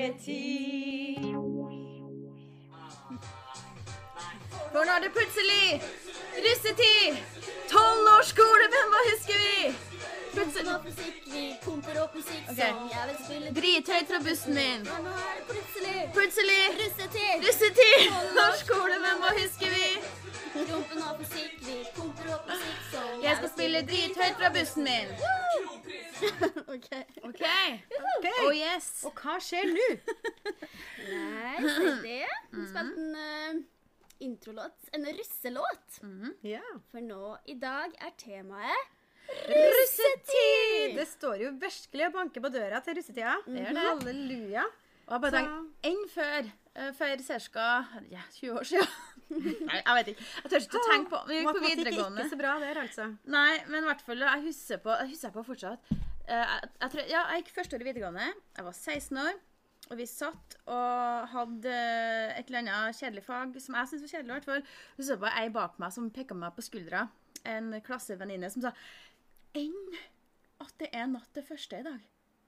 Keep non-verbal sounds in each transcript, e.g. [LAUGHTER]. tid. For nå er det plutselig russetid! Tolv års skole, hvem hva husker vi? Pumper opp musikk, vi pumper opp musikk Ok. som jeg vil spille Drithøyt fra bussen min. Ja, nå er det plutselig Plutselig russetid! russetid! Tolv års skole, hvem hva husker vi? Rumpen opp musikk, vi pumper opp musikk som Jeg skal spille drithøyt fra bussen min. Ok. OK? Oh yes. Og hva skjer nå? [LAUGHS] Nei, se det. Vi spilte en eh, introlåt, en russelåt. Ja. For nå i dag er temaet Russetid! [LAUGHS] Det står jo virkelig og banker på døra til russetida. gjør det. Halleluja. Og jeg bare tenkte enn før. eh, For ca. Ja, 20 år siden. [LAUGHS] Nei, jeg vet ikke. Jeg tør ikke å tenke på Vi gikk på Ah, Matematikk er videregående. ikke så bra der, altså. Nei, men i hvert fall, jeg husker på, jeg husker på fortsatt. Eh, jeg, jeg, tror, ja, jeg gikk første år i videregående. Jeg var 16 år. Og vi satt og hadde eh, et eller annet kjedelig fag som jeg syntes var kjedelig. i hvert fall. Og så var ei bak meg som pekka meg på skuldra. En klassevenninne som sa Enn at det er natt til første i dag.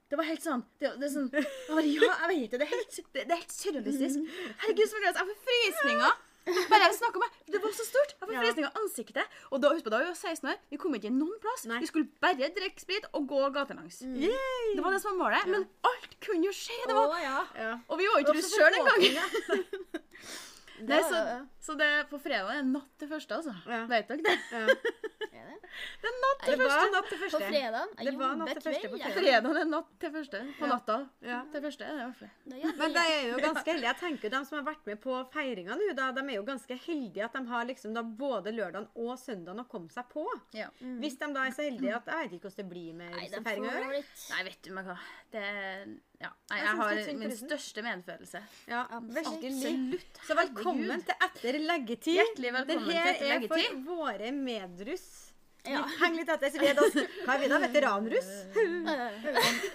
Det var helt sånn det, det er sånn, jeg bare, Ja, jeg vet det. Det er helt, det, det er helt surrealistisk. Herregud, så jeg får frysninger. Bare jeg snakker om det. Det var så stort. Jeg får Ja. frysninger i ansiktet. Og da, husk på, da var vi 16 år. Vi kom ikke noen plass. Nei. Vi skulle bare drikke sprit og gå gatelangs. Yay! Det var det som var målet. Men alt kunne jo skje. Det var, Å, ja. Ja. og vi var jo ikke russ sjøl engang. [LAUGHS] Nei, Så, ja. så det på fredag er natt til første, altså. Ja. Vet dere det? [LAUGHS] Ja. Er det? Det er natt Det til første. var natt til På første. fredag Det var natt til første på fredag. Fredagen er natt til første. På natta Ja. til første. er Det i hvert fall. Men de er jo ganske heldige. Jeg tenker jo De som har vært med på feiringa nå, da, de er jo ganske heldige at de har liksom da både lørdagen og søndagen å komme seg på. Ja. Hvis de da er så heldige at Jeg vet ikke hvordan det blir med Nei, den russefeiringa. får gjør jeg. litt Nei, vet du meg hva. Det Ja. Nei, Jeg jeg synes har det er synd på min russen. største medfølelse. Ja, virkelig. Absolutt. Så velkommen Herregud. til Etter leggetid. Hjertelig velkommen det her til Etter er leggetid. for våre medruss. Vi Ja. henger litt etter. Så vi er da, hva er vi da? [LAUGHS] [LAUGHS] Veteranruss?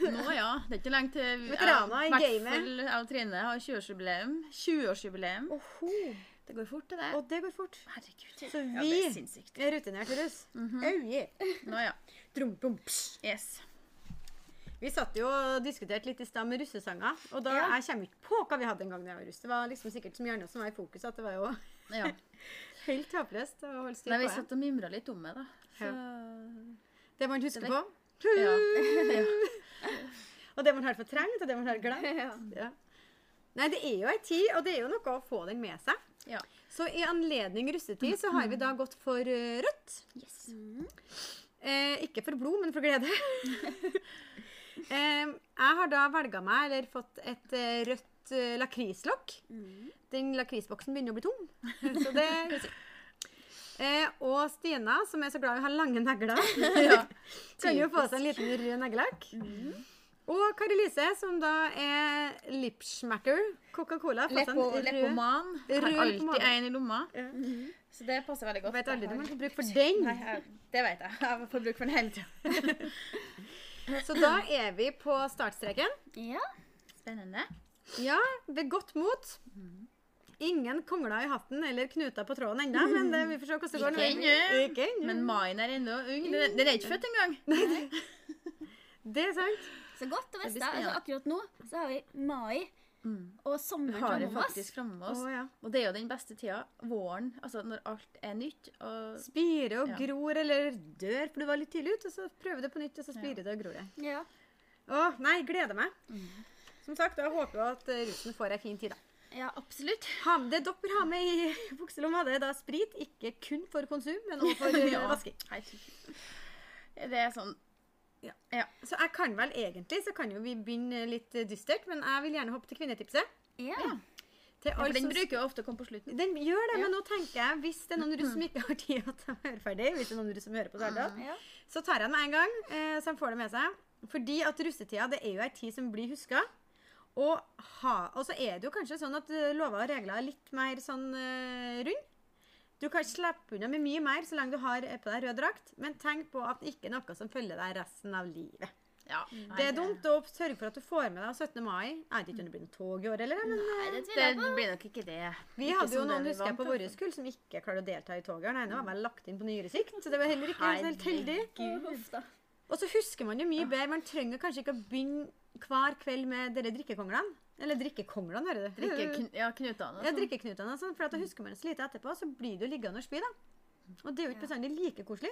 Nå, ja. Det er ikke lenge til Veteraner i hvert gamet. fall Jeg og Trine har 20-årsjubileum. 20-årsjubileum. Oho. Det går fort, det der. Og det går fort. Herregud. Så Ja, det er vi sinnssykt. er rutinerte russ. Au, yeah. Nå, ja. Drum, dum, pss. Yes. Vi satt jo og diskuterte litt i stad med russesanger, og da Ja. jeg kommer ikke på hva vi hadde en gang da jeg var russ. Det var liksom sikkert som gjerne som var i fokus, at det var jo [LAUGHS] Ja. helt håpløst å holde styr Nei, vi på det. satt og mimra litt om det, [LAUGHS] da. Så Det man husker Det på, var- ja. [LAUGHS] ja. og det man har fortrengt, og det man har glemt. Ja. Nei, det er jo ei tid, og det er jo noe å få den med seg. Ja. Så i anledning russetid så har vi da gått for eh, rødt. Yes. Eh, ikke for blod, men for glede. [LAUGHS] eh, jeg har da velga meg, eller fått, et eh, rødt eh, lakrislokk. Den lakrisboksen begynner å bli tom. [LAUGHS] Så det eh, Og Stina, som er så glad i å ha lange negler, Ja. kan jo få seg en liten rød neglelakk. Mm. Og Kari Lise, som da er Lipschmacker Coca-Cola. har fått seg en Lepo, rød- lepoman. Har rød alltid pomade. en i lomma. Mhm. Ja. Så det passer veldig godt. Vet aldri Jeg når har- man får bruk for den. Nei, jeg, det vet jeg. Jeg får bruk for den hele tida. Så da er vi på startstreken. Ja. Spennende. Ja, ved godt mot. Mm. Ingen kongler i hatten eller knuter på tråden ennå, men det, vi får se hvordan det går. når vi- Ikke ennå. Ikke ennå. Men Main er ennå ung. Den, den er ikke født engang. Det er sant. Så godt å Det vite. blir Altså, spennende. akkurat nå så har vi mai og sommer Har det foran oss. faktisk framme med Å oss. ja. Og det er jo den beste tida. Våren. Altså når alt er nytt. Og Spire og Ja. gror eller dør, for du var litt tidlig ute, og så prøver du på nytt, og så spirer det og gror det. Ja. Å, nei, gleder meg. Mm. Som sagt, da håper jeg at eh, russen får ei fin tid, da. ja, absolutt. Ha, det dere har med i bukselomma, det er da sprit, ikke kun for konsum, men også [LAUGHS] for eh, Ja. vasking. Herregud. Det er sånn Så jeg kan vel egentlig, så kan jo vi begynne litt eh, dystert, men jeg vil gjerne hoppe til kvinnetipset. ja. Til For alle den som bruker jo ofte å komme på slutten. Den gjør det, men nå tenker jeg hvis det er noen Mm. russ som ikke har tid [LAUGHS] til å høre ferdig, hvis det er noen russ som hører Ah. på Sverdal, ja. så tar jeg den med en gang, eh, så de får det med seg. Fordi at russetida det er jo ei tid som blir huska. Og, ha, og så er det jo kanskje sånn at eh, lover og regler er litt mer sånn eh, rund. Du kan slippe unna med mye mer så lenge du har eh, på deg rød drakt, men tenk på at det ikke er noe som følger deg resten av livet. Ja. Det er dumt å sørge for at du får med deg 17. mai. Jeg vet ikke om det blir noe tog i år, eller? Men Nei, det Det tviler jeg på. blir nok ikke det. Vi Ikke hadde jo som noen den vi vant, husker jeg, altså. på i vårt hvert kull som ikke klarte å delta i toget. Den ene var vel lagt inn på nyere sikt, så det var heller ikke så helt heldig. Gud. Uff, da. Og så husker man jo mye bedre. Man trenger kanskje ikke å begynne hver kveld med dere drikkekonglene. Eller drikkekonglene, hører du. Drikke kn ja, knutene og Ja, sånn. drikkeknutene og sånn, for at da husker man det så lite etterpå, så blir du liggende og spy, da. Og det er jo ikke bestandig like koselig.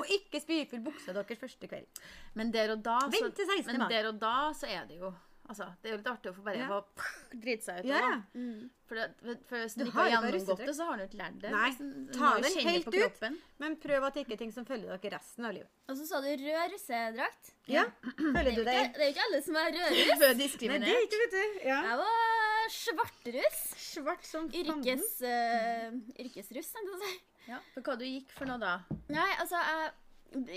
Og ikke spyfull bukse deres første kveld. Men der og da så, Vent til 16. Altså, Men mai. der og da så er det jo Altså, Det er jo litt artig å få bare Ja. få [LAUGHS] drite seg ut. Ja, da. ja. For, det, for hvis Du du ikke har har jo gjennomgått bare det, russetrekk. så har du ikke lært det. Nei, Liksom, du ta må jo den kjenne det helt på ut. kroppen. Men prøv at det ikke er ting som følger dere resten av livet. Og så sa du rød russedrakt. Ja, Det Føler er du jo ikke, deg det er jo ikke alle som er Før rødruss. Nei, det er diskriminert. ikke, vet du. Ja. Jeg var svartruss. Svart som fanden. Yrkes, eh, yrkesruss, tenkte jeg å si. Ja, for hva du gikk for noe da? Nei, altså jeg,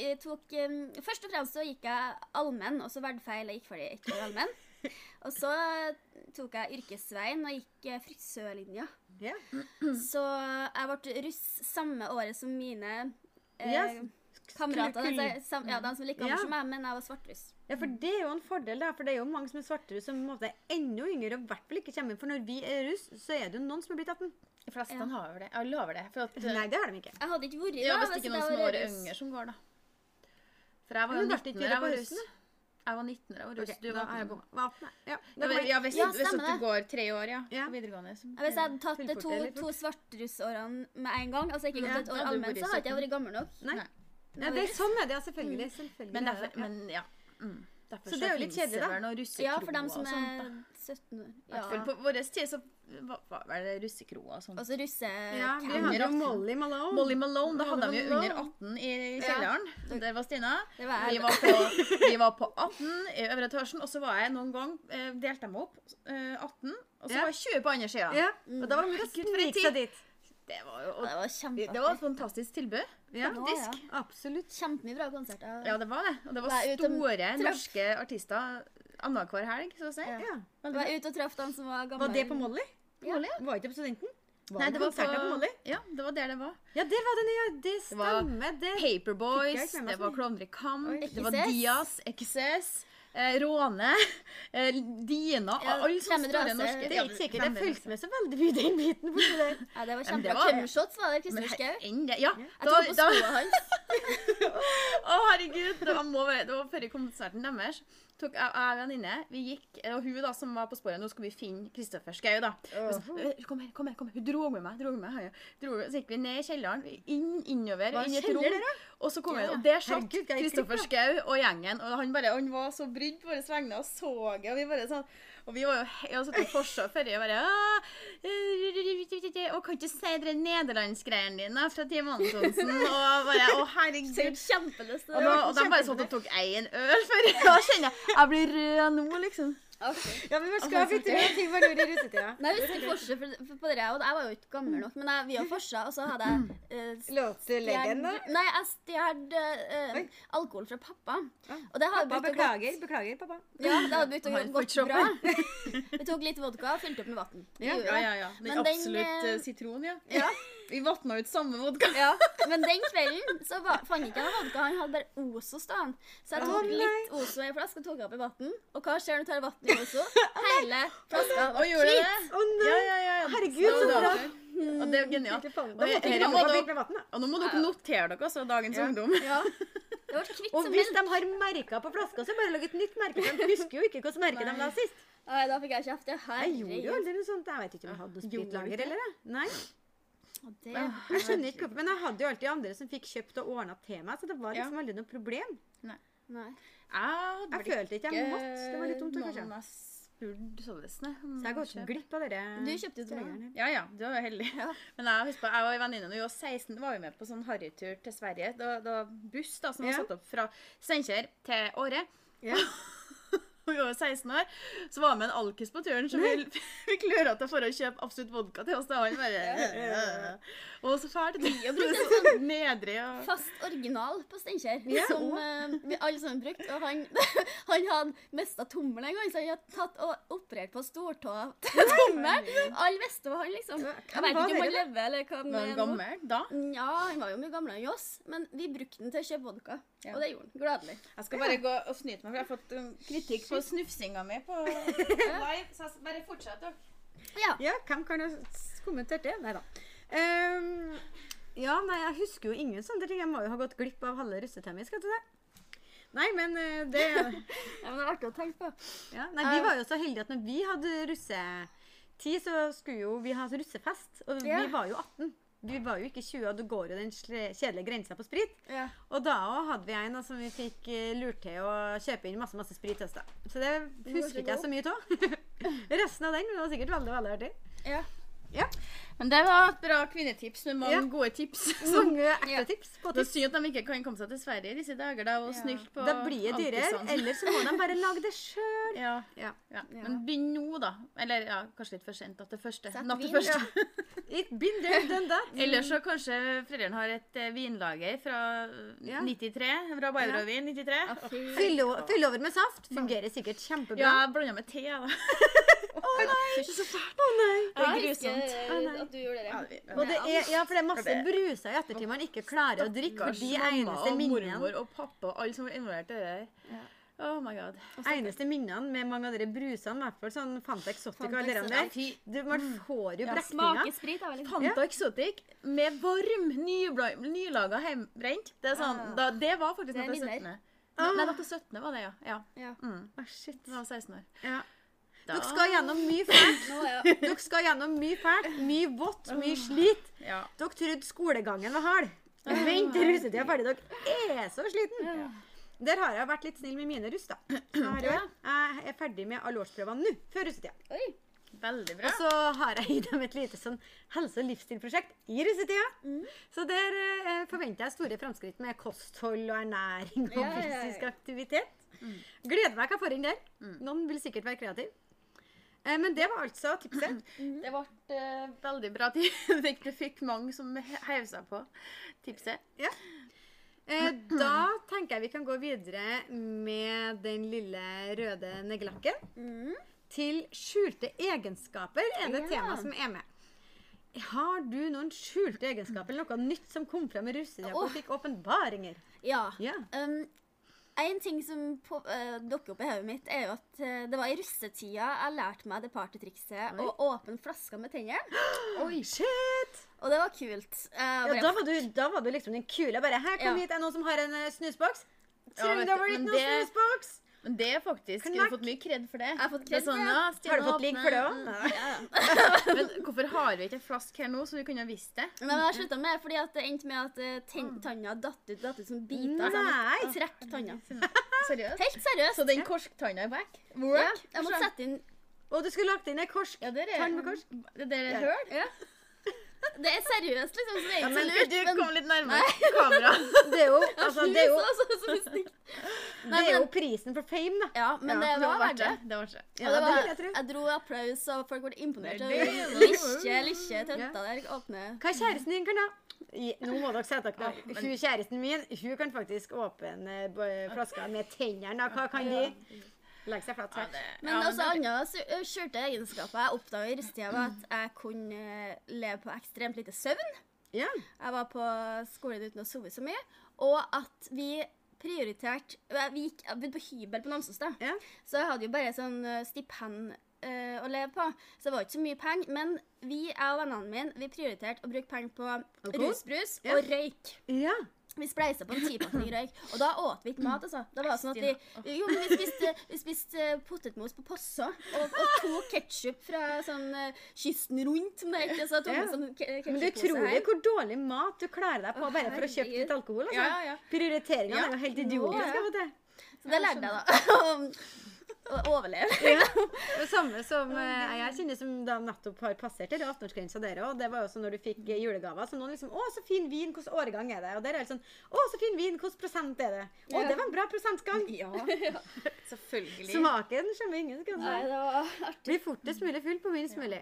jeg tok um, Først og fremst så gikk jeg allmenn, og så verdfeil. Jeg gikk ferdig ett år allmenn. Og så tok jeg yrkesveien og gikk eh, frisørlinja. Ja. Så jeg ble russ samme året som mine eh, Yes. kamerater. Skulle- Altså, sam, ja, de som likte Ja. meg som meg, men jeg var svartruss. ja, for det er jo en fordel, da. For det er jo mange som er svartere som på en måte er enda yngre og i hvert fall ikke kommer inn. For når vi er russ, så er det jo noen som er blitt 18. De fleste Ja. har vel det. Jeg lover det. For at, [LAUGHS] Nei, det har de ikke. Jeg hadde ikke vært altså, ja, da, hvis det ikke er noen som jeg var er russ. yngre som går, da. For jeg var jo Men ble 19 da ikke det jeg på var russ. russen, Jeg var 19 da jeg var russ. Ok, Du da var er jeg 18. på- var 18, ja. Ja, vel, ja, hvis, Ja, hvis stemmer at du går tre år, ja. Ja. på Videregående. Så, Hvis jeg hadde tatt de to, Fullførte jeg litt to svartrussårene med en gang, altså ikke Ja, gått et da år hadde du allmenn, vært så hadde jeg ikke vært gammel nok. Nei. Nei. Nei, det er sånn er det, ja, selvfølgelig. selvfølgelig Men er derfor, det, ja. men, ja. Mm. derfor Så det er jo litt finnes kjedelig, da. vel noen Ja, for russekroer dem som og sånt, er da. 17 år. I hvert fall Ja. på vår tid så var, var vel det russekroer og sånn. Altså russe... ja, vi Under hadde jo 18. Molly Malone. Molly Malone, da hadde de jo Molly under 18 i kjelleren. Der var Stina. Det var Vi jeg. var, på, vi var på 18 i øvre etasjen, og så var jeg noen gang eh, Delte jeg meg opp. Eh, 18, og så Ja. var jeg 20 på andre sida. Ja, og da var det mye å en snike tid. seg dit. Det var jo Ja, og, det var Det kjempeartig. var et fantastisk tilbud. Ja, Ja, disk. Absolutt. Kjempemye bra konserter. Ja, det var det. Og det var Var jeg ute om store traff. norske artister annenhver helg, så å si. Ja. Ja. Jeg var ute og traff dem som var gamle. Var det på Molly? Ja. Molly, Var ikke det på Studenten? Var Nei, det var på, konserter på Molly? ja, det var der det var. Ja, der var det nye. Det var stemmer. Det Fikk jeg Paperboys, ikke med meg det så var mye. Klovner i Kamp, det var XS. Dias, XS, eh, Råne, [LAUGHS] eh, Dina Ja, Alle sånne Fremmed store Rase. norske Det er ikke sikkert jeg fulgte med så veldig mye den biten. borti der. Ja, det var men det kjempebra. var- Cumshots var det, Kristoffer Schau. Enn det, ja. Jeg tok på skoene hans. Å, herregud. Det var, må, være- det var før i konserten deres. Tok jeg jeg og venninne Vi gikk, og hun da som var på sporet Nå skulle vi finne Kristoffer Schau, da. Hun sa, «Øh, Kom her, kom her. kom her. Hun dro med meg. dro med meg, høye. dro, Så gikk vi ned i kjelleren, inn, innover, Hva inn i et kjeller rom. dere? Og så kom Ja. vi, og der satt Herregud, hva jeg Kristoffer klikker. Schau og gjengen. Og han bare, han var så brydd på våre vegne og så det. Og vi bare sånn Og vi var jo he- og satt i forsvar for det. Og bare «Ah, øh, Og kan ikke si de nederlandsgreiene dine fra Team Antonsen. Og bare Å, Så herregud. jeg kjempelyst til Og, det. da, og de bare satt og tok én øl for Da kjenner jeg jeg blir rød nå, liksom. Artig. Ja, men man skal sånn, vi tro at ting var lurt i russetida? Nei, jeg husker forskjell på- på- på dere, og jeg var jo ikke gammel nok, men jeg, vi var forsa, og så hadde jeg eh, Låt du leggen, da? stjert- Nei, jeg stjal eh, Oi. alkohol fra pappa. Ah. Og det har jeg Pappa, brukt å gå beklager. Beklager, pappa. Ja, det hadde begynt å Han gå- gått fortropper. bra. Vi tok litt vodka og fylte opp med vann. Ja, Ja, ja, ja. Den Men den, absolutt eh, eh, sitron, ja. ja. [LAUGHS] Vi vatna ut samme vodka. Ja, men den kvelden så var, fant ikke jeg noe vodka, han hadde bare Oso stående. Så jeg Å, tok nei. litt Oso i en flaske og tok opp i vann. Og hva skjer når du tar vann i Oso? Hele flaska Og var gjorde hvit. det. Å nei! Ja, ja, ja. Herregud, så det var bra. det. Og det er jo genialt. Da det- måtte ikke dere må mamma da- bli med vann, da. Og nå må dere notere dere, altså, dagens ungdom. Ja. Det ble kvitt Og som hvis helst. de har merker på flaska, så bare lag et nytt merke. for De husker jo ikke hvilket merke de la sist. Nei, da fikk jeg kjeft. ja. Jeg gjorde jo Herregud. aldri noe sånt. Jeg vet ikke om jeg hadde Gjorde noe du ikke? spritlager eller det. Nei, Og det- jeg skjønner ikke hvorfor. Men jeg hadde jo alltid andre som fikk kjøpt og ordna til meg, så det var Ja. liksom aldri noe problem. Nei. Jeg Jeg følte ikke jeg måtte. Det var litt dumt, da, kanskje. Noen har spurt sånn. Så jeg har gått glipp av dere. Du kjøpte jo til meg. greiene. Ja, ja, du var jo heldig. Men jeg husker på, jeg og en venninne når vi var 16, var vi med på sånn harrytur til Sverige. Det var, det var buss da, som var Ja. satt opp fra Steinkjer til Åre. [LAUGHS] Ja. vi var 16 år, så var det med en alkis på turen som [LAUGHS] vi fikk lura til for å kjøpe absolutt vodka til oss. Da han bare Og så fælt. [LAUGHS] Sånn Nedrig og Fast original på Steinkjer, Ja. som eh, vi alle sammen brukte. Og han, [LAUGHS] han hadde mista tommelen en gang, så han hadde tatt og operert på stortåa [LAUGHS] til tommelen. Alle visste det var han, liksom. Jeg vet ikke var om han dere, lever, eller hva han Var han er nå. gammel da? Ja, han var jo mye gamlere enn oss, men vi brukte den til å kjøpe vodka. Ja. Og det gjorde han. Gladelig. Jeg skal bare gå og snyte meg, for jeg har fått um, kritikk på snufsinga mi [LAUGHS] på live. Så jeg s- bare fortsett, dere. Ja. Ja, hvem kan ha s- kommentert det? Nei da. Ehm, ja, nei, jeg husker jo ingen sånne ting. Jeg må jo ha gått glipp av halve russetida mi. skal jeg til det. Nei, men eh, det Eh, Ja, men det er artig å tenke på. [LAUGHS] ja. Nei, vi var jo så heldige at når vi hadde russetid, så skulle jo vi ha russefest. Og Ja. vi var jo 18. Vi var jo ikke 20, og da går jo den sle- kjedelige grensa på sprit. Ja. Og da òg hadde vi en da, som vi fikk eh, lurt til å kjøpe inn masse masse sprit til oss. da. Så det husker ikke jeg så mye av. [LAUGHS] Resten av den var sikkert veldig veldig artig. ja. Men det var et bra kvinnetips med mange Ja. gode [LAUGHS] tips. Så Mange ekle Ja. tips. på det er tips. synd at de ikke kan komme seg til Sverige i disse dager da, og Ja. snylte på Da blir det dyrere, alkisene. eller så må de bare lage det sjøl. Ja. Ja. [LAUGHS] Ja. Men begynn nå, da. Eller ja, kanskje litt for sent. At det første. Sett Natt til vin, første. [LAUGHS] It been there, done that. Eller så kanskje foreldrene har et eh, vinlager fra eh, Ja. 93. Fra Barbrovin 93. Ja, fy. Fyll, o- fyll over med saft. Fungerer sikkert Ja, kjempebra. jeg blanda med [LAUGHS] te, jeg, da. Å nei. Det Ja, er jeg husker grusomt. Å, nei. at du gjorde det. Ja, vi- Og det er, ja, for det er masse Det- bruser i ettertid man ikke klarer å drikke. For de Stakkars mamma eneste og minnene, mormor og pappa og alle som var involvert i det der. Ja. Oh my god. eneste minnene med mange av de brusene, i hvert fall sånn Fanta Exotic og Fanta alle de Exotic. der du, Man får jo Ja, brekninger. Smake sprit er veldig fint. Fanta Exotic med varm, nybla- nylaga hjemmebrent. Det, er sånn, Ah. da, det var faktisk Det er natt til 17. minner. Nei, nei, natt til 17. var det, ja. ja. Ja. Mm. Å, Ah, shit. Da var jeg 16 år. Ja. Da, Dere skal gjennom mye fælt. Nå, ja. Dere skal gjennom mye fælt. Mye vått, mye slit. ja. Dere trodde skolegangen var hard. Vent til russetida er ferdig. Dere er så sliten. Der har jeg vært litt snill med mine russ, da. Jeg, har jo- jeg er ferdig med alle årsprøvene nå, før russetida. Oi. Veldig Og bra. så har jeg gitt dem et lite sånn helse- og livsstilprosjekt i russetida. Mm. Så der eh, forventer jeg store framskritt med kosthold og ernæring og Ja, ja, ja. Mm. fysisk aktivitet. Gleder meg hva jeg får inn der. Noen vil sikkert være kreativ. Eh, men det var altså tipset. Det ble eh, veldig bra tid. [LAUGHS] Du fikk, du fikk mange som he- heiv seg på tipset. Eh, da tenker jeg vi kan gå videre med den lille røde neglelakken. Mm. Til skjulte egenskaper er det Ja. tema som er med. Har du noen skjulte egenskaper eller noe nytt som kom frem i russetida hvor Åh. du fikk åpenbaringer? Ja. Ja. Um, en ting som på, eh, dukker opp i hodet mitt, er jo at eh, det var i russetida jeg lærte meg det partytrikset å åpne flasker med tennene. Oi, shit! Og det var kult. Eh, Ja, bare- da, var du, da var du liksom den kule. Bare 'Her, kom Ja. hit, er det noen som har en eh, snusboks?' Ja, Tror vet du, du det var ikke men noen det- snusboks? Men det er faktisk Du Knakk. har fått mye kred for det. har fått Det er kred for sånn, det. ja, Har du Stine fått ligg åpner- [LAUGHS] for det òg? ja, ja. Men hvorfor har vi ikke en flask her nå, så vi kunne ha visst det? Men jeg slutta med det fordi at det endte med at eh, ten tanna datt ut, datt ut som biter. så Nei. Jeg måtte trekke tanna. Seriøst? Helt seriøst. Så den korsktanna er back? ja, Work? jeg måtte sette inn Og du skulle lagt inn ei korsk. Ja, der er Tann med korsk. Det der er Ja. høl? ja. Det er seriøst, liksom. Så det er Ja, ikke men så lurt. du men- kom litt nærmere kamera. Det er jo, altså, det [LAUGHS] er jo, Så- så- så stygt. det er jo men- prisen for fame, da. Ja, men det var verdt det. Det var det. Ja, Og det det var, vil jeg tro. jeg dro applaus, og folk ble imponert. Det er Og det. lykke, lykke, tenta der åpne. Hva er kjæresten din kan da? I, nå må dere sette dere Ja, ned. men- Hun Kjæresten min hun kan faktisk åpne eh, b- flaska med tennene. da. Hva kan de? Legg seg flat. Ja, her. det Men også andre su- ø, skjulte egenskaper jeg oppdaga i russetida, var at jeg kunne eh, leve på ekstremt lite søvn. Ja. Jeg var på skolen uten å sove så mye. Og at vi prioriterte eh, Vi gikk jeg bodde på hybel på Namsos, da. Ja. Så jeg hadde jo bare sånn eh, stipend eh, å leve på. Så det var ikke så mye penger. Men vi, jeg og vennene mine, vi prioriterte å bruke penger på Alkohol? rusbrus Ja. og røyk. ja. Vi spleisa på en tipakning røyk, og da åt vi ikke mat. altså. Da var det sånn at Stina. Vi jo, men vi spiste, vi spiste eh, potetmos på Possa og, og to ketsjup fra sånn eh, kysten rundt. som det heter, så jeg tok med Ja. sånn ke- Men det er ketchuppose utrolig her. hvor dårlig mat du klarer deg på Å, bare for å kjøpe herregud. litt alkohol. Altså. Ja, ja, ja. Prioriteringene Ja. er jo helt Nå, idiotiske. ja. vet du. Så det lærte jeg, da. [LAUGHS] Å overleve. Det samme som eh, jeg kjenner som da nettopp har passert der, 18-årsgrensa dere òg. Det var jo sånn når du fikk eh, julegaver. Så noen liksom 'Å, så fin vin. Hvilken årgang er det?' Og der er det sånn 'Å, så fin vin. Hvilken prosent er det?' Å, Ja. det var en bra prosentgang. [LAUGHS] Selvfølgelig. Smaken skjønner ingen. Skal Nei, jeg si. det var artig. Blir fortest mulig full på minst mulig.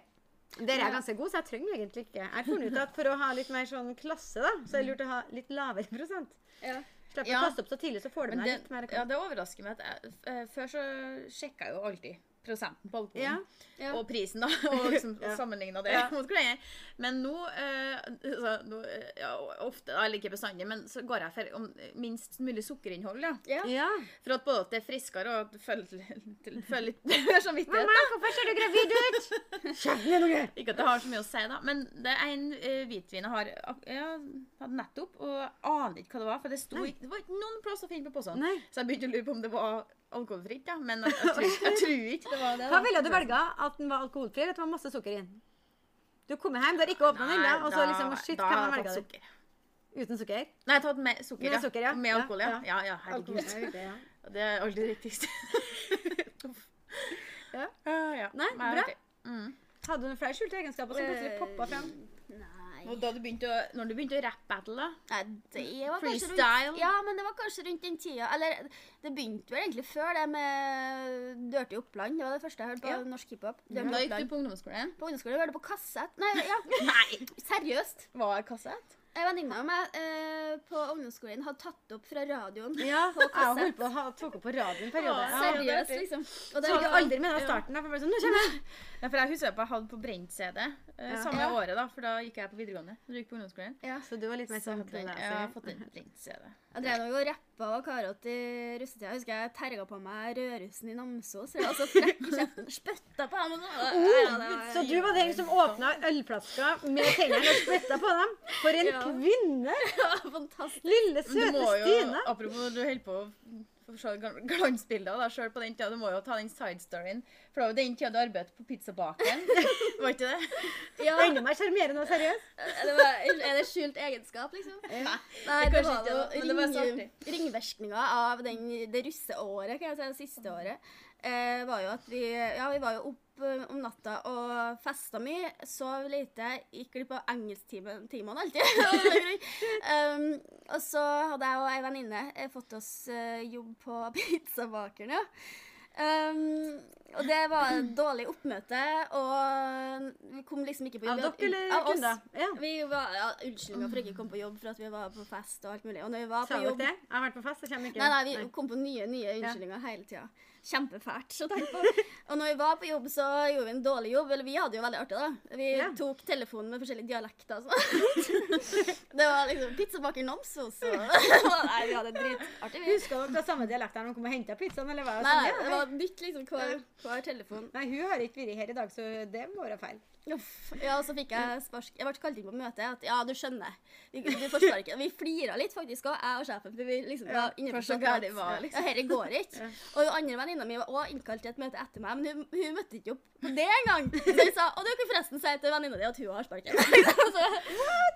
Der er jeg ganske god, så jeg trenger egentlig ikke. Jeg har funnet ut at for å ha litt mer sånn klasse, da, så er det lurt å ha litt lavere prosent. Ja. Slipp å Ja. kaste opp så tidlig, så får Men du med det, deg litt mer. eh, ja, det overrasker meg at jeg, f- eh, Før så sjekka jeg jo alltid prosenten på alkoholen. Ja. Ja. og prisen, da, [LAUGHS] og liksom Ja. sammenligna det Ja. [LAUGHS] mot hverandre. Men nå, eh, altså, nå eh, ja, ofte, eller ikke bestandig, men så går jeg for om minst mulig sukkerinnhold. Ja. Ja. Ja. For at både at det er friskere, og at du føler, [LAUGHS] til- føler litt [LAUGHS] samvittighet. Mamma, hvorfor ser du gravid ut? Kjeft med dere! Ikke at det har så mye å si, da. Men det er en eh, hvitvin jeg har ak- ja, hadde nettopp, og jeg aner ikke hva det var. For det, sto, Nei. ikke- det var ikke noen plass å finne på posen. Nei. Så jeg begynte å lure på om det var alkoholfritt, ja. men jeg, jeg, tror, jeg tror [LAUGHS] ikke det var det. Hva ville du velge? At den var alkoholfri, eller at det var masse sukker i den? Du kommer hjem, du har ikke åpna den ennå, og så liksom Shit, da kan man har jeg velge tatt den? sukker. Uten sukker? Nei, jeg har tatt med sukker, Med sukker, ja. Med Ja, alkohol, ja. ja. ja, ja herregud. Det er aldri det [LAUGHS] riktigste. Ja. Ah, ja. Nei, Men bra. jeg vet ikke. Mm. Hadde du flere skjulte egenskaper som plutselig poppa frem? Eh, Nei. Og da du begynte å, når du begynte å rappe-battle, da Nei, det var kanskje Freestyle? Rundt, ja, men det var kanskje rundt den tida. Eller det begynte vel egentlig før det med Dirty Oppland. Det var det første jeg hørte på Ja. norsk hiphop. Dirty Da gikk du Oppland. på ungdomsskolen? På ungdomsskolen hørte jeg på kassett. Nei, ja, [LAUGHS] Nei! seriøst. Var kassett? En venninne av meg eh, på ungdomsskolen hadde tatt opp fra radioen. Ja, jeg kassett. holdt på å ha- tok opp på radioen en periode. Å, Ja. seriøst? det Seriøst, er liksom. Og Så det hadde var jeg aldri med den starten. da, for jeg ble sånn, nå kommer jeg. Ja, for jeg husker på jeg hadde på brent-CD eh, Ja. samme Ja. året, da, for da gikk jeg på videregående. Når du gikk på ungdomsskolen. Så du var litt mer Så sånn hadde jeg, jeg har fått en brent-CD. Jeg drev nok og rappa og karot i russetida. Jeg husker jeg terga på meg rødrussen i Namsos. Jeg var så frekk i kjeften. Spytta på ham. og sånn. Ja, det var- [LAUGHS] Så du var den som åpna ølflaska med tennene og splitta på dem? For en Ja. kvinne! Fantastisk. Lille, Men du søte må jo, Stine. apropos, du holder på å få se gl- glansbilder da, selv på den tida. Du må jo ta den side-storyen. For det var jo den tida du arbeidet på pizzabaken. var ikke det? Ja, Enda mer sjarmerende og seriøs. det var, er det skjult egenskap, liksom? det Nei, det kanskje var ikke jo det, men det var så ring, ringvirkninger av den, det russeåret, kan jeg si, det siste året. Eh, var jo at vi, ja, vi var jo opp eh, om natta og festa mye, sov lite, gikk glipp av engelsktimene alltid. [LAUGHS] av en grunn. um, og så hadde jeg og ei venninne eh, fått oss eh, jobb på [LAUGHS] pizzabakeren, ja. Um, og det var dårlig oppmøte, og vi kom liksom ikke på Av jobb. dere eller Av oss. kunder? Ja. Vi var, ja, Unnskyldninger for ikke å komme på jobb for at vi var på fest og alt mulig. Og når vi var Sa på dere jobb det? Jeg har vært på fest, jeg kommer ikke Nei, nei, vi kom på nye nye unnskyldninger hele tida. Kjempefælt. Så tenk på. Og når vi var på jobb, så gjorde vi en dårlig jobb. Eller vi hadde jo veldig artig, da. Vi Ja. tok telefonen med forskjellige dialekter og sånn. [LAUGHS] Det var liksom pizzabaker Namsos og [LAUGHS] Nei, vi hadde det dritartig, vi. Husker dere da samme dialekt da de kom og henta pizzaen? eller var det Nei, sånn? det Ja, var bytt liksom hver, hver telefon. Nei, hun har ikke vært her i dag, så det må være feil. Uff. Ja, og så fikk jeg spark. Jeg ble kalt inn på møte. At, ja, du skjønner. Vi, du får sparken. Vi flira litt, faktisk, også, jeg og sjefen. For vi liksom Ja, var inne for så gærent det var, liksom. Ja, herre går ikke. Og hun andre venninna mi var også innkalt til et møte etter meg, men hun, hun møtte ikke opp på det engang. Så hun sa Og du kan forresten si til venninna di at hun har sparken. [LAUGHS] så,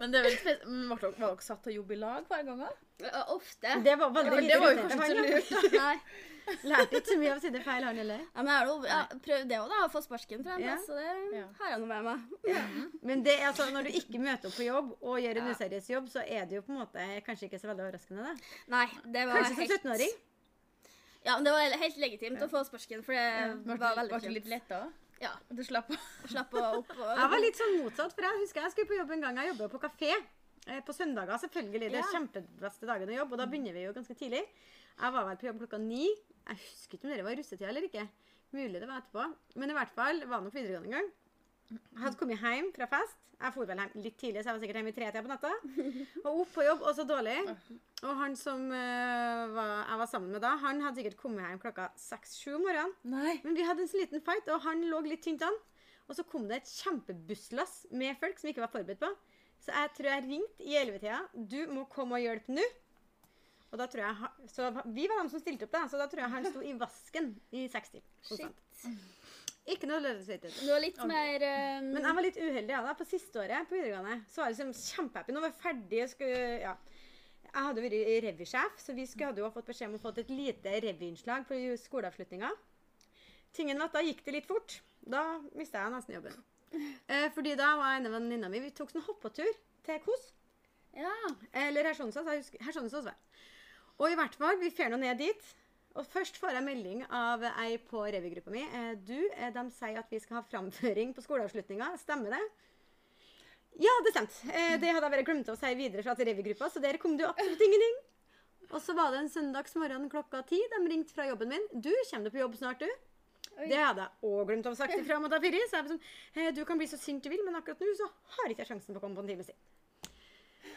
Men det er vel spes- men var dere, var dere satt og jobb i lag hver gang? da? ja, ofte. Det var veldig For lite det var jo rotete, kanskje han, ikke ja. så lurt. Nei. Lærte ikke så mye av sine feil, han heller. Ja, men jeg har jo ja, prøvd det òg, da. Å få sparken fra en Ja. plass. Så det Ja. har jeg nå med meg. Men det er altså, når du ikke møter opp på jobb og gjør en useriøs jobb, så er det jo på en måte kanskje ikke så veldig overraskende, da. Nei, det var Kanskje som 17-åring. Ja, men det var helt legitimt å få sparken, for det Ble var du- veldig ble du litt letta òg? Ja. Du slapp å Slapp å opp [LAUGHS] og Jeg var litt sånn motsatt, for jeg husker jeg skulle på jobb en gang. Jeg jobba på kafé eh, på søndager, selvfølgelig. Det er Ja. kjempebeste dagen å jobbe, og da begynner vi jo ganske tidlig. Jeg var vel på jobb klokka ni. Jeg husker ikke om det var i russetida eller ikke. Mulig det var etterpå. Men i hvert fall var det nok videregående en gang. Jeg hadde kommet hjem fra fest. Jeg for vel hjem litt tidlig, så jeg var sikkert hjemme i tretida på natta. Og opp på jobb, og så dårlig. Og han som eh, var, jeg var sammen med da, han hadde sikkert kommet hjem klokka seks-sju om morgenen. Nei. Men vi hadde en så liten fight, og han lå litt tynt an. Og så kom det et kjempebusslass med folk som vi ikke var forberedt på. Så jeg tror jeg ringte i 11-tida. Du må komme og hjelpe nå. Og da tror jeg, ha- så Vi var de som stilte opp, da, så da tror jeg han sto i vasken i 60. konstant. Ikke noe lørdagsvittighet. Du var litt mer um, Men jeg var litt uheldig ja, da. På siste året på videregående så var jeg liksom kjempehappy. Nå var jeg ferdig. Jeg, skulle, ja. jeg hadde jo vært revysjef, så vi skulle, hadde jo fått beskjed om å få et lite revyinnslag på skoleavslutninga. Tingen var at da gikk det litt fort. Da mista jeg nesten jobben. Eh, fordi da var en av venninna mi Vi tok sånn hoppetur til Kos. Ja. Eller Hersonsås. Jeg husker Hersonsås, var det. Og i hvert fall, vi fer nå ned dit. Og først får jeg melding av ei på revygruppa mi. Eh, Du, eh, de sier at vi skal ha framføring på skoleavslutninga. Stemmer det? Ja, det stemte. Eh, Det hadde jeg bare glemt å si videre fra til revygruppa, så der kom det jo absolutt ingenting. Og så var det en søndagsmorgen klokka ti. De ringte fra jobben min. Du, kommer du på jobb snart, du? Det hadde jeg òg glemt å ha sagt ifra om at jeg pirrer. Så jeg var sånn, «Eh, du kan bli så sint du vil, men akkurat nå så har ikke jeg sjansen på å komme på en time siden.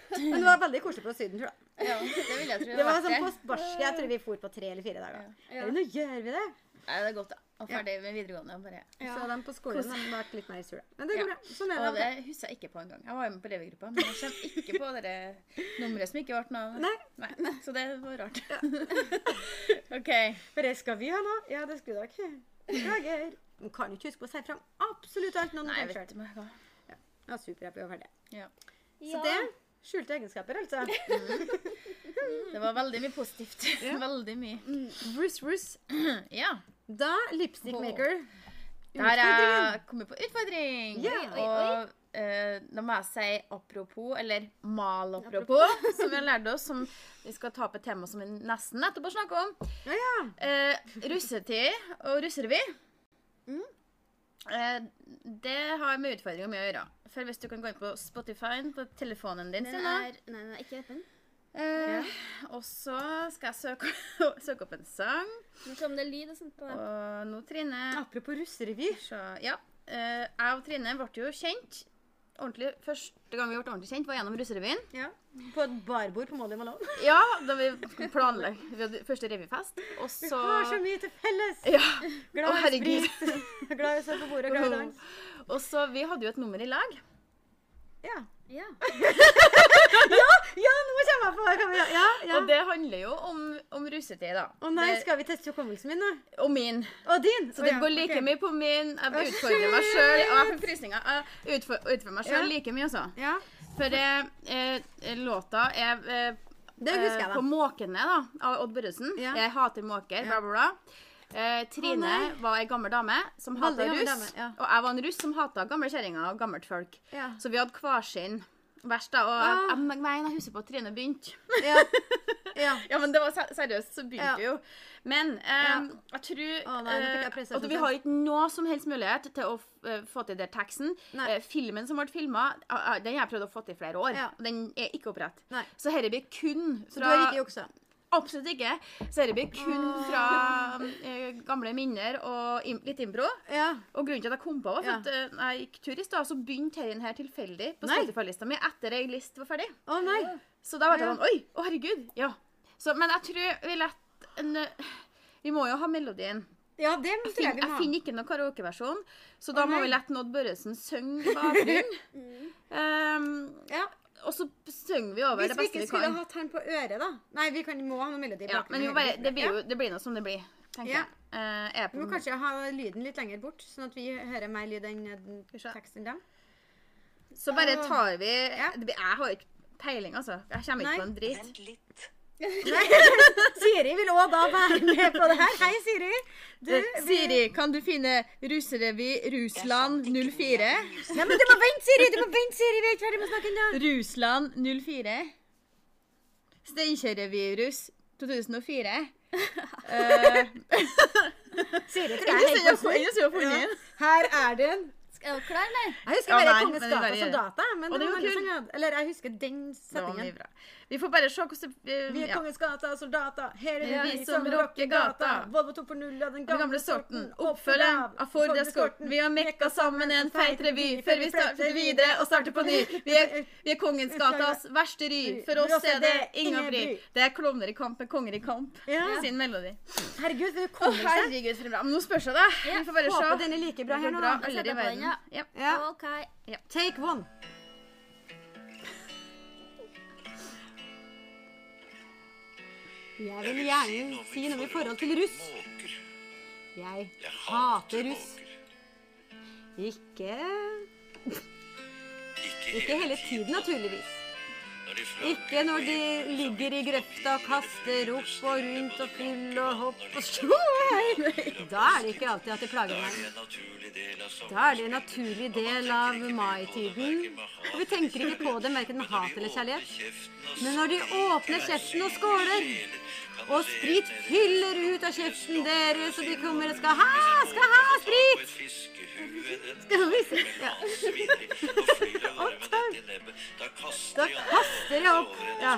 Men det var veldig koselig på Syden, tror jeg. Ja, det vil jeg tro. Det var sånn postbars. Jeg tror vi for på tre eller fire dager. Ja. Eller nå gjør vi det. Nei, det er godt, da. Og ferdig med videregående. og Bare. Ja. Så de på skolen har vært litt mer sure. Men det går Ja. bra. Sånn er Og det. det husker jeg ikke på engang. Jeg var jo med på elevgruppa, men jeg kommer ikke på det nummeret som ikke ble noe av. Nei. Nei. Så det var rart. [LAUGHS] OK. For det skal vi ha nå. Ja, det skulle dere. Beklager. Man kan jo ikke huske på å si fram absolutt alt når man Nei, tenker vet selv. du hva. Ja, superhappy og ferdig. Ja. Så det skjulte egenskaper, altså. Det var veldig mye positivt. [LAUGHS] Veldig mye. Bruce Bruce. [CLEARS THROAT] Ja. [LAUGHS] Da lipstick Åh. maker. Der Utfordringen. er kommet på utfordring. Ja. Oi, oi, oi. Og eh, da må jeg si apropos, eller mal apropos, [LAUGHS] som vi har lært oss, som vi skal ta opp et tema som vi nesten nettopp har snakket om. Ja, ja. Eh, russetid og russerevy. Eh, det har med utfordringer mye å gjøre. For hvis du kan gå inn på Spotify på telefonen din, Den Sina. er Nei, den er ikke åpen. Eh, Og så skal jeg søke, søke opp [LAUGHS] en sang. Men se om det er lyd og sånt på den. Og nå, Trine Apropos russerevy. Så, ja. eh, jeg og Trine ble jo kjent ordentlig Første gang vi ble ordentlig kjent, var gjennom Russerevyen. Ja. På et barbord på Molly Malone. Ja, [LAUGHS] da vi planla vi hadde første revyfest. Og Vi så har så mye til felles! ja. Å, Glad i herregud. sprit, [LAUGHS] glad i å stå på bordet, glad i dans. Og så Vi hadde jo et nummer i lag. Ja. Ja. ja, nå kommer jeg på! Kan vi, ja, ja. Og det handler jo om, om russetid, da. Å nei, Det- skal vi teste hukommelsen min nå? Og min. Og din! Så det går like mye på min. Jeg utfordrer meg sjøl. Og jeg får frysninger. Jeg utfor- utfordrer meg sjøl Ja. like mye, altså. Ja. For eh, eh, låta er eh, Det husker jeg, eh, da. På Måkene, da, av Odd Børresen. Ja. Jeg hater måker, bla, bla, bla. Eh, Trine Å, nei. var ei gammel dame som Veldig hata gammel russ. dame, ja. Og jeg var en russ som hata gamle kjerringer og gammelt folk. Ja. Så vi hadde hver sin vers, da. Og jeg, Ah. jeg, jeg, mener, jeg husker på at Trine begynte. Ja. ja. Ja, men det var se- seriøst, så begynte Ja. vi jo. Men eh, jeg tror Å, nei, nå fikk jeg eh, presset at Vi sånn. har ikke noe som helst mulighet til å f- eh, få til den teksten. Nei. Eh, filmen som ble filma, den har jeg prøvd å få til i flere år. Ja. og Den er ikke opprett. Nei. Så dette blir kun Så fra du har ikke juksa? Absolutt ikke. Så dette blir kun fra eh, gamle minner og im litt impro. Ja. Og grunnen til at jeg kom på, var for Ja. at eh, når jeg gikk tur i stad, så begynte denne her tilfeldig på Nei. Spotify-lista mi etter ei list var ferdig. Å nei. Så da ble jeg Ja. sånn Oi, å herregud. Ja. Så, men jeg tror vi lett en, Vi må jo ha melodien. Ja, det tror Fin, jeg vi jeg må ha. finner ikke noen karaokeversjon, så da Å, må nei. Mm. vi lette Odd Børresen synge [LAUGHS] i bakgrunnen. Ehm, Ja. og så synger vi over Hvis det vi beste ikke vi skulle kan. hatt han på øret, da. Nei, vi kan, må ha noe melodi i Ja, men bakgrunnen. jo, bare, det, blir jo, det blir nå som det blir, tenker Ja. jeg. Eh, er Vi på, må kanskje ha lyden litt lenger bort, sånn at vi hører mer lyd enn eh, den Skal vi se. teksten dem. så bare tar vi Ja. det blir- Jeg har ikke peiling, altså. Jeg kommer Nei. ikke på en drit. Vent litt. [LAUGHS] Siri vil òg da være med på det her. Hei, Siri. Du, vi... Eh, Siri, kan du finne Rusrevy Rusland 04? Nei, men du må vente, Siri! Du må vente, Siri. Vi er ikke ferdig med å snakke ennå. Rusland 04. Steinkjerrevirus 2004. [LAUGHS] Eh, Siri tror jeg er helt på slutt. den. Her er den. Er du klar, eller? Jeg husker Ja, bare nei, men Kongens det gate der og er- soldater. Men Og det det var var veldig kul. sånn jeg hadde- Eller jeg husker den Det var mye setningen. bra. Vi får bare se hvordan det Vi er ja. Kongens gate og soldater. Her er det Ja, vi som rocker gata. Volvo 2.0 av Den den gamle gamle sorten, sorten. oppfølgeren av Ford Escorten. Vi har mekka sammen en feit revy før vi starter videre og starter på ny. Vi er, vi er Kongens gatas verste ry. For oss er det ingen bry. Det er klovner i kamp med konger i kamp. Ja. Sin melodi. Herregud, for en Å, hukommelse. herregud, for en bra. Men nå spørs det, da. Vi får bare Håper se. den er like Det bra her går nå. bra, da. alle setter i jeg på verden. den, ja. Ja. Ja. OK. Take one. Jeg vil gjerne si noe i forhold til russ. Måker. Jeg Jeg hater russ. måker. Ikke Ikke, Ikke hele tiden, naturligvis. Når de flagger Ikke når de og hiver ligger i grøfta og kaster opp og rundt og fyll og hopp og seg. slå hei. [LAUGHS] Da er det ikke alltid at det Da plager er meg. det en naturlig del av Da er det en naturlig del av maitiden. Og vi tenker ikke på det, verken med hat eller kjærlighet. Men når de åpner kjeften og skåler, og sprit fyller ut av kjeften deres, og de kommer og skal ha, skal ha sprit! Skal Skal vi se. Ja. Og kastene. dette nebbet. Da kaster Da jeg opp. kaster jeg opp. Ja.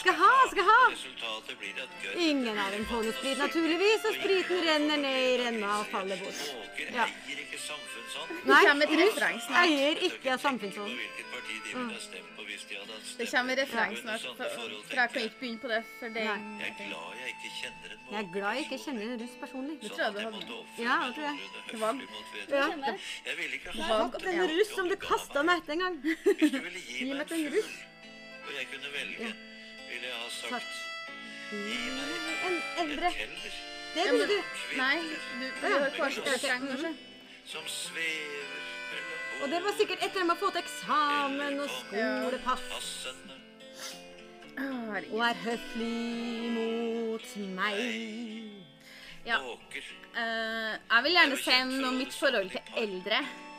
Skal ha, skal ha. Resultatet blir at gørr Ingen av dem får noe sprit, naturligvis, og spriten renner ned i renna og faller bort. Måker Ja. eier ikke samfunnsånd. Nei, Det kommer et russ refreng snart. eier Jeg ikke kan tenke meg samfunnsånd. Mm. hvilket parti de ville ha stemt på hvis de hadde hatt Det stemt. kommer refreng Under snart, sånne for, forhold for jeg tenker kan ikke begynne på det før det Nei. Jeg er glad jeg ikke kjenner en måte. Jeg er glad jeg ikke kjenner en russ personlig. tror jeg du hadde. Ja, jeg tror jeg. Det var- Ja. Jeg ville ikke var- ha Tenk at en russ som du kasta meg etter en gang. Hvis du ville gi meg meg til en en russ. fugl, og jeg kunne velge, ville jeg ha sagt Takk. gi meg [LAUGHS] En en eldre. kelner. Det ville du. Nei, du, du har kanskje refreng, kanskje? Som svever mellom Og det var sikkert et eller annet med å få til eksamen og skolepass. bordpassene. Å, herregud. Og er høflig mot meg. Ja. Åker. Eh, jeg vil gjerne si noe om mitt forhold til eldre.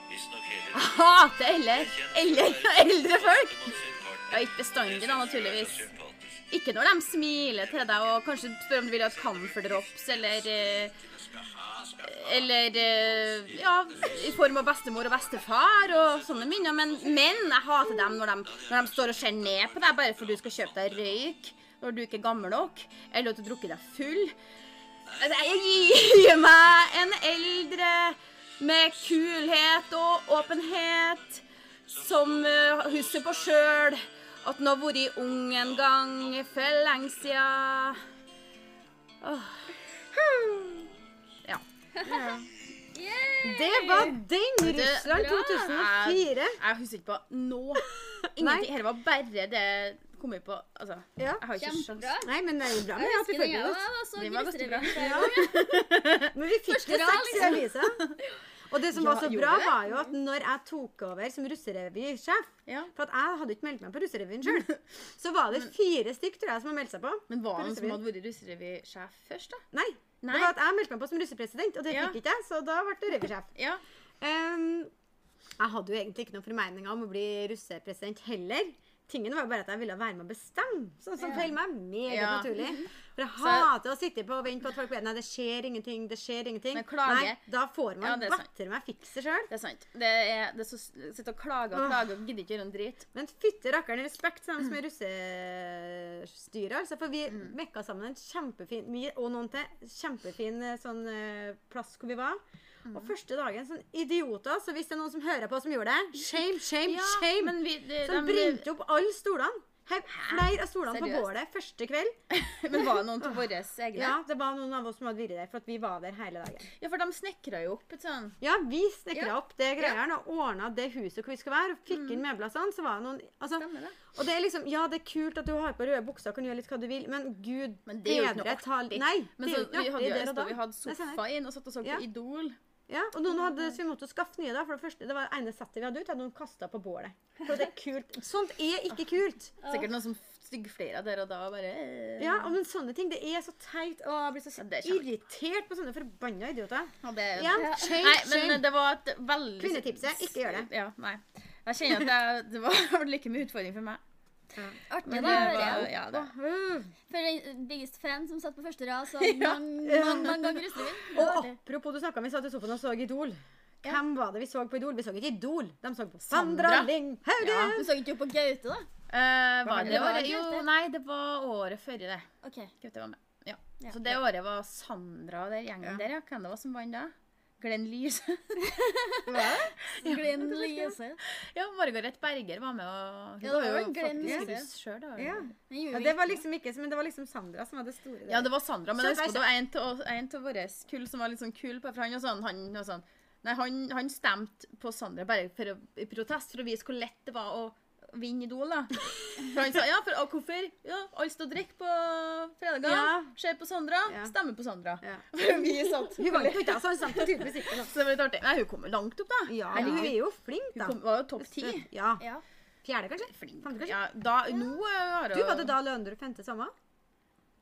Visstnok heller. Hater eller, eller Ah, eldre folk. ikke mot sin partner. Ja, ikke bestandig, da, naturligvis. Ikke når de smiler til deg og kanskje spør om du vil ha et camferdrops eller eh, Eller eh, ja, i form av bestemor og bestefar og sånne minner. Men, men jeg hater dem når de, når de står og ser ned på deg bare for du skal kjøpe deg røyk når du ikke er gammel nok, eller at du har drukket deg full. Altså, Jeg gir meg en eldre med kulhet og åpenhet, som eh, husker på sjøl at han har vært ung en gang for lenge sia. Åh. Ja. Det var den du, Russland bra. 2004. Jeg husker ikke på [LAUGHS] noe. Ingenting. Dette var bare det kom jeg på. Altså, Ja. jeg har ikke sjans. Kjempebra. Nei, men det er jo bra Jeg med at vi husker den, følger jeg oss. var så Den var ganske bra. gnistrende. Men vi fikk jo rad, seks i avisa. Og det liksom. som Ja, var så gjorde bra, det? var jo at når jeg tok over som russerevysjef Ja. For at jeg hadde ikke meldt meg på russerevyen sjøl. [LAUGHS] Så var det fire stykk tror jeg, som hadde meldt seg på. Men var han som Russerevyen. hadde vært russerevysjef først, da? Nei. Nei. Det var at jeg meldte meg på som russepresident, og det Ja. fikk ikke jeg, så da ble det revysjef. Ja. Ehm, jeg hadde jo egentlig ikke noen formeninger om å bli russepresident heller. Tingen var jo bare at jeg ville være med å bestemme, sånn som faller meg meget Ja. naturlig. For jeg [LAUGHS] Så- hater å sitte på og vente på at folk vet Nei, det skjer ingenting, det skjer ingenting. Men klage- Nei, da får Ja, man det er sant. batter meg fikse sjøl. Det er sant. Det er, det er så, sitte og klage og Åh. klage og gidder ikke gjøre en drit. Men fytte rakkeren respekt til dem som er russestyret, altså. For vi Mm. mekka sammen en kjempefin vi, Og noen til. Kjempefin eh, sånn eh, plass hvor vi var. Og Mm. første dagen, sånn idioter, så hvis det er noen som hører på som gjorde det Shame, shame, shame! men vi, de, Som de- brente opp alle stolene. Her, flere av stolene på Seriøst? bålet første kveld. [LAUGHS] Men var det noen av våre egne? Ja, Det var noen av oss som hadde vært der, for at vi var der hele dagen. Ja, for de snekra jo opp et sånn Ja, vi snekra Ja. Mm. opp det greia og ordna det huset hvor vi skulle være, og fikk inn møbler sånn. Så var det noen altså, Stemmer det. Og det er liksom Ja, det er kult at du har på røde bukser og kan gjøre litt hva du vil, men gud Men det er jo ikke noe bedre ta- artig. Nei, Men det så, er jo ikke vi noe hadde artig jo der og da. Østfold, vi hadde Nei, sant. sofa inn og satt og så på Ja. Idol. Ja, og noen hadde, så vi måtte jo skaffe nye, da. For det første, det var ene settet vi hadde ute, hadde noen kasta på bålet. For det er kult. Sånt er Ah, ikke kult. Sikkert noen som styggflira der og da og bare eh. Ja, og men sånne ting. Det er så teit. Og jeg blir så Ja, det er kjempe- irritert på sånne forbanna idioter. Ja, det er jo- Ja, shame, Nei, men eh, shame. det var et veldig Kvinnetipset, ikke gjør det. Ja, nei. Jeg kjenner at jeg, det var [LAUGHS] like mye utfordring for meg. Artig, Men da. det hører var jeg. ja, det. Mm. For den biggest fan som satt på første rad, [LAUGHS] så mange, mange, mange ganger russerevyen. Det var Og artig. apropos, du snakka om vi satt i sofaen og så Idol. Ja. Hvem var det vi så på Idol? Vi så ikke Idol. De så på Sandra. Sandra Lyng Hauge. Ja. Du så ikke jo på Gaute, da? Eh, var det, det var året? det, Jo, det. nei, det var året før i det. OK. Gaute var med. Ja. Ja. Så det året var Sandra og den gjengen Ja. der, ja. Hvem det var som vant da? Glenn Lys. [LAUGHS] Glenn Liese. ja, Margaret Berger var med og Ja, det var jo Glenn faktisk Lise. russ sjøl, da. Ja. Den gjorde Ja, vi det var ikke. liksom ikke men det var liksom Sandra som var det store. der. Ja, det var Sandra, men Så jeg det husker det var en til- en av våre kull som var litt sånn kul på for han var sånn, han var sånn Nei, han, han stemte på Sandra bare for å, i protest for å vise hvor lett det var å vinne Idol, da. For han sa ja, for og hvorfor? Ja, alle står og drikker på fredager. Ja. Ser på Sandra, Ja. stemmer på Sandra. Ja. [LAUGHS] For sånn. vi satt Hun vant jo ikke, altså. Hun satt jo tydeligvis ikke. da. Så det var litt artig. Nei, hun kom jo langt opp, da. Ja, men hun Herregud. er jo flink, Hun da. kom, var jo topp ti. Ja. Ja. Fjerde, kanskje? Flink. Femte, kanskje? Ja, da, nå eh, har hun Du, Var det da Lønderud femte samme?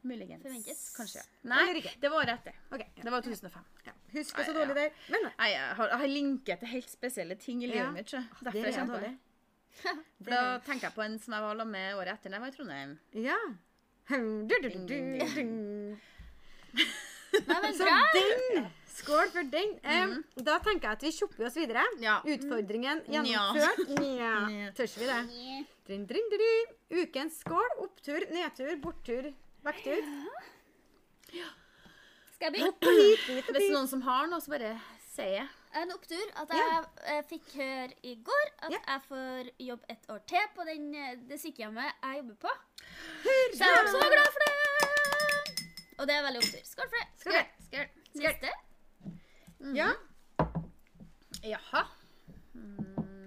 Muligens. Forventes. Kanskje. Nei, Eller ikke. det var året etter. Ok, ja. Det var 2005. ja. Husker så Nei, dårlig der. Men Nei, jeg har, jeg har linket til helt spesielle ting i livet Ja. Ah, mitt. Så. det Derfor er jeg jeg kjenner på dårlig. det. For Da tenker jeg på en som jeg var sammen med året etter da jeg var i Trondheim. Ja. Hum, du, du, du, du, du. Nei, men Så bra. den! Skål for den. Eh, Da tenker jeg at vi shopper oss videre. Mhm. Ja. Utfordringen Nja. gjennomført. Nja. [LAUGHS] Nja. Tørs vi det? Drin, drin, drin. Ukens skål. Opptur, nedtur, borttur, vekktur. Skal jeg begynne? Hit, hit og Hvis dit. noen som har noe, så bare sier jeg. En opptur at jeg Ja. eh, fikk høre i går at Ja. jeg får jobbe et år til på den, eh, det sykehjemmet jeg jobber på. Så jeg er Hurra! så glad for det! Og det er veldig opptur. Skål for det. Skal vi? Skål. Neste Ja. Jaha.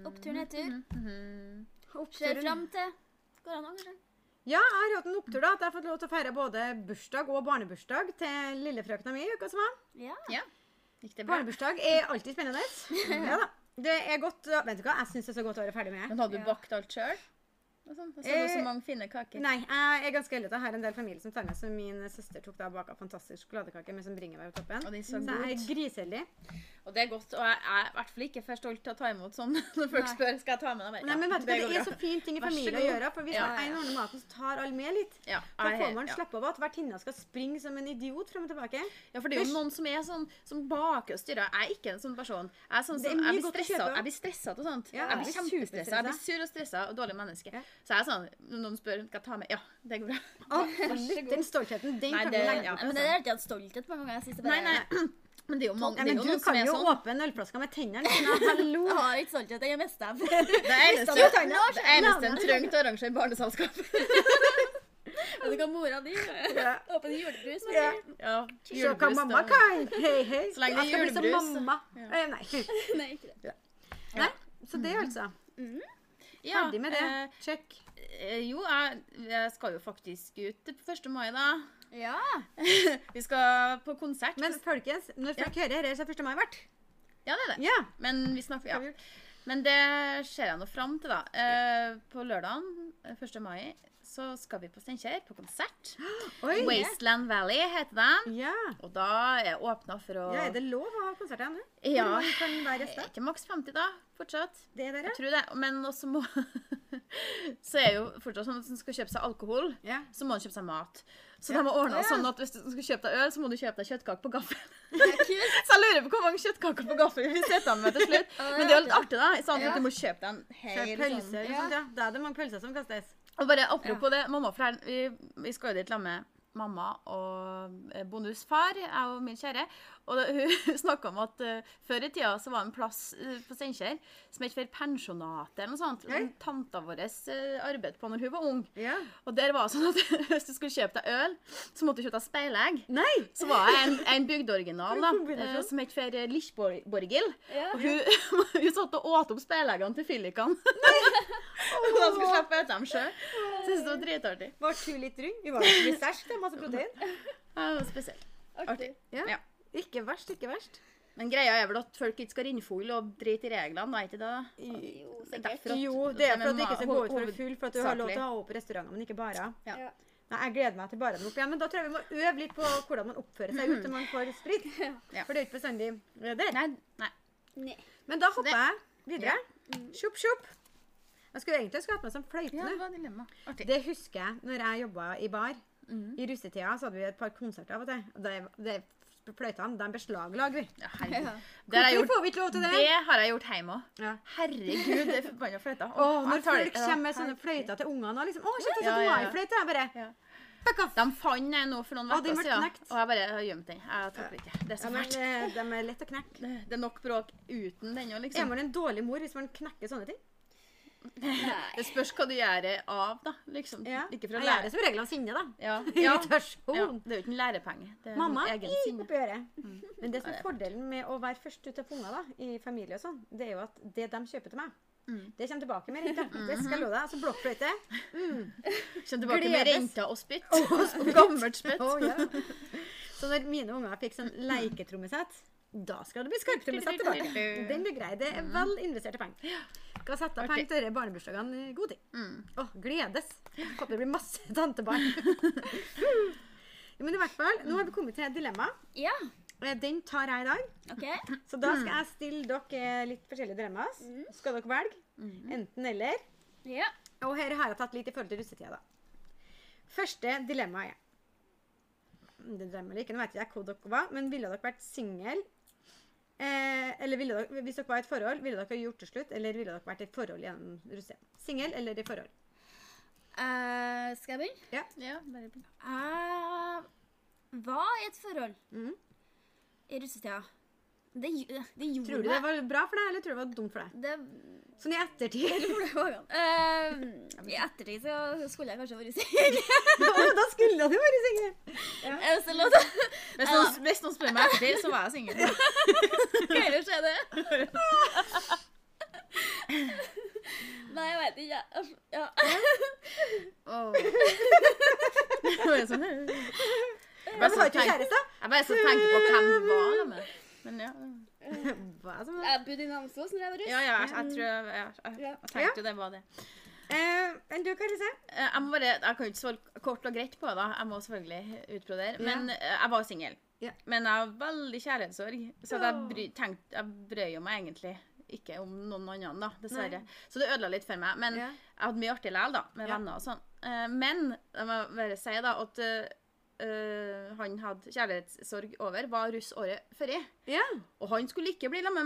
opptur nedtur. Ser Mm. Oppturen. fram til Går an å kanskje? Ja, jeg har hatt en opptur da, at jeg har fått lov til å feire både bursdag og barnebursdag til lillefrøkna mi. i uka som var. Ja. Gikk det bra? Barnebursdag er alltid spennende. [LAUGHS] Ja da. Det er godt, å- Vet du hva, jeg syns det er så godt å være ferdig med. Men hadde du Ja. bakt alt sjøl? Jeg så du Eh, så mange fine kaker. Nei, jeg er ganske heldig at jeg har en del familie som tar med. Så min søster tok da og baka fantastisk sjokoladekake med sånn bringebær på toppen. Og de Så så jeg er godt. griseheldig. Og det er godt. Og jeg er i hvert fall ikke for stolt til å ta imot sånn [LAUGHS] når folk Nei. spør skal jeg ta med deg. Nei, men vet du hva, det er så fint. fin ting i Vær så familie å god. gjøre. For hvis Ja, man ja. en ordner maten, så tar alle med litt. Ja, Da jeg- får man ja. slappe av at vertinna skal springe som en idiot frem og tilbake. Ja, for det er jo noen som er sånn som baker og styrer. Jeg er ikke en sånn person. Jeg, er sånn, Det er som- mye jeg, blir godt å stressa, kjøpe. jeg blir stressa og sånt. jeg blir Ja, jeg blir kjempestressa. Jeg blir superstressa. sur og stressa og dårlig menneske. Ja. Så jeg er sånn Når noen spør hva jeg tar med, ja, det går bra. Absolutt. Den stoltheten, den Nei, kan vi det- legge ja. opp. Men det altså. er alltid hatt stolthet mange ganger. Jeg synes det Nei, bare nei. [CLEARS THROAT] Men det er jo, mange, Ja, det er men jo du noen som kan er jo sånn. åpne ølflaska med tennene [LAUGHS] sine. Hallo! Jeg har ikke stolthet, jeg er mester. Det eneste jo ta den. det eneste en trengte å arrangere barneselskap. Vet du hva mora di gjør? Ja. Åpen julebrus. vet Ja. du. [LAUGHS] Ja, Se hva julebrus, mamma da. kan! Hei, hei. Så lenge det er Jeg skal bli julebrus, som så- mamma. Ja. Eh, Nei. Nei, ikke det. Nei. Så det, altså. Ja, Ferdig med det. eh, Check. Eh, jo, jeg, jeg skal jo faktisk ut til 1. mai, da. Ja. [LAUGHS] Vi skal på konsert. Men folkens, når folk hører dette, så er 1. mai vært. ja, det er det. Ja. Men vi snakker ja. Har vi gjort. Men det ser jeg nå fram til, da. Eh, på lørdagen, eh, 1. mai, så skal vi på Steinkjer på konsert. [GASPS] Oi. Wasteland Valley heter den. Ja. Og da er jeg åpna for å ja. Er det lov å ha konsert igjen nå? Ja. Hvor mange kan være Jeg er gjester? ikke maks 50, da. Fortsatt. Det er dere? Jeg tror det. Men også må [LAUGHS] Så er jo fortsatt sånn at en skal kjøpe seg alkohol, Ja. så må en kjøpe seg mat. Så Ja. de har ordna Å, ja. sånn at hvis du skal kjøpe deg øl, så må du kjøpe deg kjøttkaker på gaffel. Det er kult. [LAUGHS] Så jeg lurer på hvor mange kjøttkaker på gaffel vi setter av med til slutt. Ja, det er Men det er jo litt artig, da. i stedet for Ja. at du må kjøpe deg en Så er hel det pølser og Ja. sånt, ja. Da er det mange pølser som kastes. Og bare apropos det, mamma og flere, vi, vi skal jo dit sammen med mamma og eh, Bonus far, jeg og min kjære. Og det, [LAUGHS] hun snakka om at eh, før i tida så var det en plass eh, på Steinkjer som het for Pensjonatet eller noe sånt. Som tanta vår uh, arbeidet på når hun var ung. Ja. Og der var det sånn at [LAUGHS] hvis du skulle kjøpe deg øl, så måtte du kjøpe deg speilegg. Nei! Så var jeg en, en bygdeoriginal da, For en kombinasjon. eh, som het for eh, Lichborgil. Ja. Og hun, [LAUGHS] hun satt og åt opp speileggene til fyllikene. [LAUGHS] Og de skulle slippe å ete dem sjøl. Syns det var dritartig. Var du litt rund? Vi var jo litt sterke, det er masse protein. Ja, det var spesielt. Artig. Ja. Ikke verst, ikke verst. Men greia er vel at folk ikke skal rinnfulle og drite i reglene, da, er ikke det? da? Jo, Det er derfor at- det er for men at du ikke skal ma- gå ut for å hoved- full, for at du har lov til hovedsakelig. å ha opp restauranter, men ikke barer. Ja. Ja. Nei, jeg gleder meg til barene opp igjen, men da tror jeg vi må øve litt på hvordan man oppfører [LAUGHS] seg ute når man får sprit. Ja. For det er jo ikke bestandig der. Nei, nei. Nei. Men da hopper det- jeg videre. Sjopp, sjopp. Jeg skulle egentlig skulle hatt meg som Ja, fløytende. det var dilemma. Artig. Det husker jeg når jeg jobba i bar. Mm. I russetida så hadde vi et par konserter av og til. Og det, det, fløytene de beslaglag vi. Ja, herregud. Det har jeg Hvorfor gjort, får vi ikke lov til det? det har jeg gjort hjemme òg. Ja. Herregud, det er forbanna fløyta. Å, når Jeg tar det- folk kommer med Ja, sånne fløyter til ungene og liksom Å, shit, jeg Ja, ja, satt ja, ja. fløyte Jeg bare Ja. Fuck off. De fant jeg nå for noen Å, de uker ble siden, knekt. og jeg bare har gjemt den. Jeg takler ikke. Det er Ja, så men fælt. eh, de er lett å knekke. Det det er nok bråk uten den òg, Er [LAUGHS] liksom. man en dårlig mor hvis man knekker sånne ting? Det spørs hva du gjør det av, da. Liksom. Ikke for å Jeg gjør lære det som regel av sinne, da. [LAUGHS] Ja. ja. ja. Irritasjon. Det er jo ikke en lærepenge. Det er Mamma noe i, egen sinne. oppi øret. Mm. [LAUGHS] Men det som Ja, det er er fordelen med å være først ute på unger da, i familie og sånn, det er jo at det de kjøper til meg, det kommer tilbake med renta. Det skal jeg love deg. Altså blokkfløyte. Kjenn tilbake med Gledes. renta og spytt. [LAUGHS] Og gammelt spytt. Å, ja. Så når mine unger fikk sånn leiketrommesett, da skal det bli skarptrommesett tilbake. Den blir grei. Det er vel investerte penger. Skal sette av penger til disse barnebursdagene i god tid. Å, gledes. Håper det blir masse [LAUGHS] tantebarn. [LAUGHS] Jo, Men i hvert fall, nå har vi kommet til et dilemma. Ja, Eh, Den tar jeg i dag. OK. Så da skal jeg stille dere litt forskjellige dilemmas. Skal dere velge? Enten eller. Ja. Og her har jeg tatt litt i forhold til russetida, da. Første dilemma er det drømmer eller ikke, nå vet ikke jeg hvor dere var, men ville dere vært single? Eh, eller ville dere, hvis dere var i et forhold, ville dere gjort det slutt, eller ville dere vært i et forhold gjennom russetida? Singel eller i forhold? Eh, skal jeg begynne? Ja, bare begynn. Jeg var i et forhold Mhm. i russetida. Det, gj- det gjorde Tror du det var bra for deg, eller tror du det var dumt for deg? det, Sånn i ettertid. [LAUGHS] det var galt. Eh, I ettertid så skulle jeg kanskje vært singel. da skulle du vært singel. [LAUGHS] Er det så lov til Hvis noen, hvis noen spør meg etter det, så var jeg singel. å høre skje det? Nei, jeg veit ikke. jeg. Ja. [LAUGHS] Sånn. Jeg bare Men har så ikke du tenk- kjæreste? [LAUGHS] jeg bare så tenker på hvem det var. da, men- Men ja. Hva som helst. Jeg bodde i Namsos når jeg var russ. Ja, ja, jeg, jeg tror jeg, jeg, jeg, Ja. jeg tenkte jo det var det. Eh, enn du, Karise? Eh, Jeg, må bare, jeg kan jo ikke svare kort og greit på det. da. Jeg må selvfølgelig utbrodere. Men eh, jeg var singel. Ja. Men jeg har veldig kjærlighetssorg, så at jeg, Åh. bry, tenkte- jeg brøy jo meg egentlig ikke om noen annen, da, dessverre. Så det ødela litt for meg. Men Ja. jeg hadde mye artig likevel, da, med Ja. venner og sånn. Eh, Men jeg må bare si da, at eh, eh, han hadde kjærlighetssorg over, var russ året før. Ja. Og han skulle ikke bli sammen med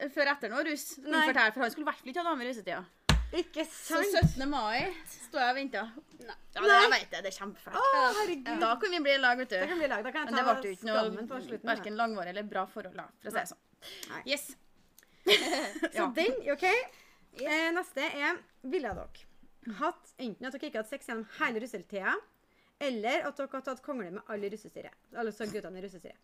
meg før etter noe russ. Kan jeg Nei. fortelle, For han skulle i hvert fall ikke ha dame i russetida. Ikke Så sant? 17. mai står jeg og venter. Nei. Ja, det, jeg vet det. Det er kjempefælt. Å, herregud. Da kan vi bli i lag, vet Da du. kan vi lage. Da kan Men det jeg ble ta jo ikke skammen på noe slutten. da. verken langvarig eller bra forhold, da, for å si det sånn. Nei. Yes. Så [LAUGHS] ja. den, OK? Eh, neste er Ville dere hatt enten at dere ikke hadde sex gjennom hele russetida, eller at dere hadde tatt kongle med alle i russestyret? Altså guttene i russestyret.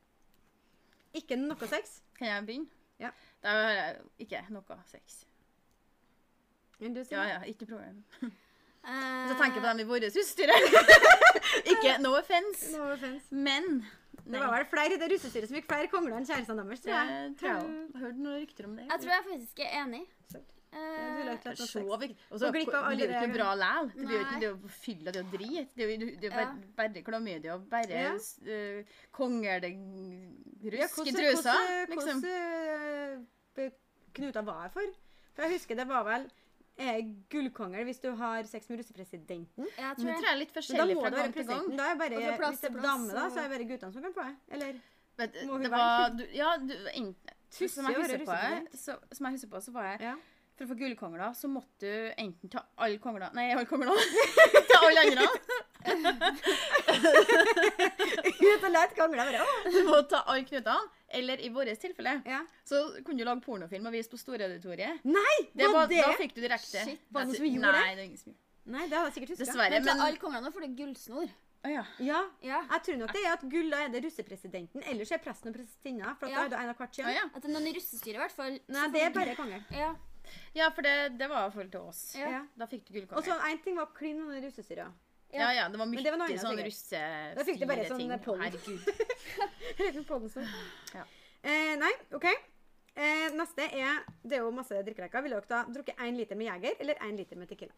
Ikke noe sex? Kan jeg begynne? Ja. Da har jeg ikke noe sex. Men du, Ja, Signe? ja, ikke noe problem. Eh, Så tenker jeg på dem i vårt husstyre. [LAUGHS] ikke no offense. No offense. Men Det var vel flere i det russestyret som fikk flere kongler enn kjærestene deres, tror Det jeg. tror jeg òg. Hørte noen rykter om det. jeg tror jeg faktisk er enig. Sant. Eh, Du ville Sånn ikke hatt Så noe sex. vi- Og så Gå blir glipp av alle det jo de- ikke bra læl. Det blir jo Nei. ikke det å fylle det å drit. Det er jo det er jo Ja. bare, bare klamydia og bare Ja. eh, kongele rusk i hvordan- trusa. hvordan- Liksom. hvordan, eh, knuter var jeg for? For jeg husker det var vel eh, gullkongel hvis du har sex med russepresidenten. jeg Men Det tror jeg tror jeg er litt Men da forskjellig må fra det være gang til gang. presidenten. Da er bare, Og fra plass hvis det til er plass, dame, da, så og- er det bare guttene som kan få det. Eller Men Må hun det være? var du, Ja, du, en, Tusse som, jeg å være husker på, eh, russepresident. [LAUGHS] så, som jeg husker på, så var jeg ja. For å få gullkongler, så måtte du enten ta alle konglene Nei, alle konglene. [LAUGHS] ta alle andre. Ut og let kongla være «Åh!» Du må ta alle knutene. Eller i vårt tilfelle ja. så kunne du lage pornofilm og vise på Storauditoriet. Nei! Det var var, det? Da fikk du direkte. Shit, var det noen som Nei, gjorde det? Nei, det er ingen som gjorde det. Nei, det hadde jeg sikkert huska. Dessverre, Men til men alle konglene får du gullsnor. Å ja. Ja. Ja. Jeg tror nok det er at gull da er det russepresidenten. Ellers er presten og prestinna. For at da Ja. er det en av hvert Å, kjønn. ja. Sånn. At det er noen i russestyret, i hvert fall. Nei, det er bare kongel. Ja. ja, for det, det var i forhold til oss. Ja. Ja. Da fikk du Og gullkonge. så en ting var klin under russestyret. Ja, ja, det var Men mye det var noe annet, sånn sikkert. russefine Da fikk du bare sånn ting. pollen. Herregud. [LAUGHS] Røyken på den sånn. Ja. Eh, nei, OK. Eh, neste er Det er jo masse drikkeleker. Ville dere da drukket én liter med Jeger eller én liter med Tequila?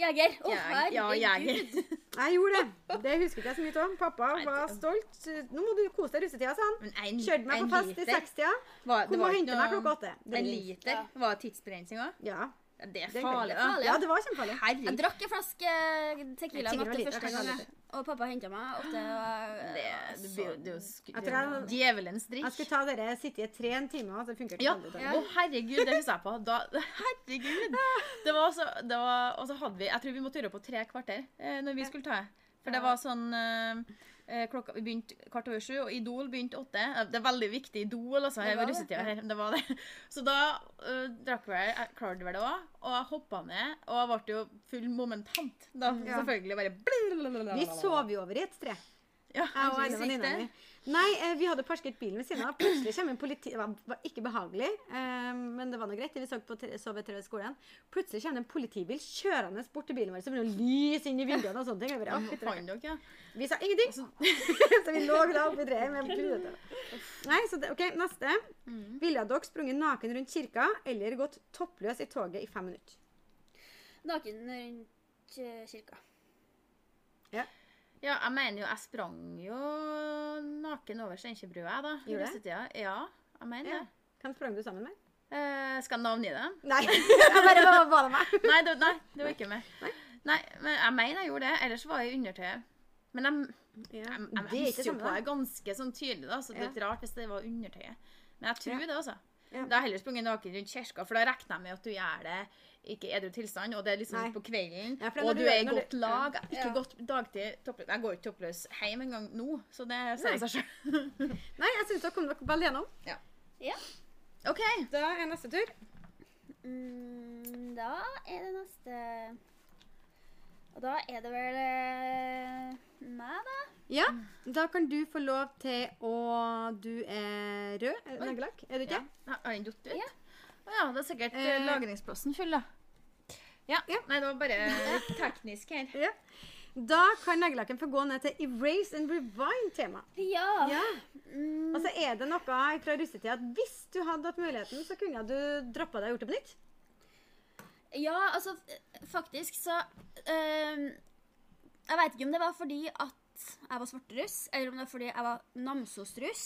Jeger. Å, Jeg- ja, herregud. jeger. Jeg gjorde det. Det husker ikke jeg så mye av. Pappa Nei, det- var stolt. Nå må du kose deg i russetida, sa han. Men en, Kjørte meg en på fest i liter sekstida. var- det Kom var ikke og hente meg noe- klokka åtte. En Drink. liter Ja. var tidsbegrensninga? Ja. Ja, det er Det er farlig, da. farlig, ja, det var kjempefarlig. Jeg Herregud. drakk en flaske Tequila Jeg tenker det var natt til lite, første jeg kan ha gang. lite. Og pappa henta meg åtte. og- Det, det blir jo- det er jo sk- Jeg det er jo tror jeg- djevelens Jeg drikk. skulle ta dere sitte i et tre en time, og så funker det Ja. Å, veldig dårlig. herregud, det husker jeg på. Da, herregud! Det var så, det var, og så hadde vi Jeg tror vi måtte gjøre det på tre kvarter eh, når vi skulle ta det. For det var sånn eh, eh, klokka, Vi begynte kvart over sju, og Idol begynte åtte. Eh, Det er veldig viktig Idol, altså. Her var var det, russetida her. Det var det. Så da eh, drakk vi jeg klarte vel det òg, og jeg hoppa ned, og jeg ble jo full momentant. Da Mm. Ja. selvfølgelig bare Vi sov jo over i et tre. Ja, Jeg og jeg en synes venninne det. mi. Nei, eh, vi hadde parkert bilen ved siden av. Plutselig kommer en politi... Det var, var ikke behagelig, eh, men det var nå greit. Vi så på tre- så ved tre skolen. Plutselig kommer det en politibil kjørende bort til bilen vår som begynner å lyse inn i vinduene og sånne ting. Jeg bare, Ja, «Å, fytti fant rakkeren». dere, ja. Vi sa ingenting! [LAUGHS] så vi lå da oppi treet med kludete. Nei, så det, OK, neste. Ville dere sprunget naken rundt kirka eller gått toppløs i toget i fem minutter? eh, Naken rundt eh, kirka. Ja, jeg mener jo, jeg sprang jo naken over Steinkjerbrua, jeg, da. i Gjorde du? russetida. Ja, jeg mener Ja. det. Hvem sprang du sammen med? Eh, skal jeg navngi dem? Nei, [LAUGHS] jeg bare var, var det meg. Nei, det, nei, det var ikke meg. Nei, men jeg mener jeg gjorde det. Ellers var jeg i undertøyet. Men jeg, Jeg, Ja. jeg, det er ikke husker jo samme på det da. ganske sånn tydelig, da, så det er Ja. litt rart hvis det var undertøyet. Men jeg tror det, altså. Da Ja. har jeg heller sprunget naken rundt kirka, for da regner jeg med at du gjør det ikke i edru tilstand, og det er liksom Nei. litt på kvelden, Ja, for når og du du gjør er det i når du- godt lag. Ikke Ja. godt dagtid toppløs. Jeg går ikke toppløs hjem engang nå, så det sier seg sjøl. Nei, jeg syns dere kom dere vel gjennom. [LAUGHS] OK. Da er neste tur. Mm, da er det neste Og da er det vel eh, meg, da. Ja, da kan du få lov til å Du er rød eh, neglelakk, er du ikke? Ja. Har den datt ut? Ja. Å ja, det er sikkert eh, Eh. lagringsplassen full, da. Ja. Ja. Nei, [LAUGHS] det var bare litt teknisk her. Da kan neglelakken få gå ned til erase and rewind-tema. Ja. Ja. Mm, Altså, er det noe fra russetida at hvis du hadde hatt muligheten, så kunne du droppa deg og gjort det på nytt? ja, altså f- faktisk så eh, Jeg veit ikke om det var fordi at jeg var svarteruss, eller om det var fordi jeg var namsosruss,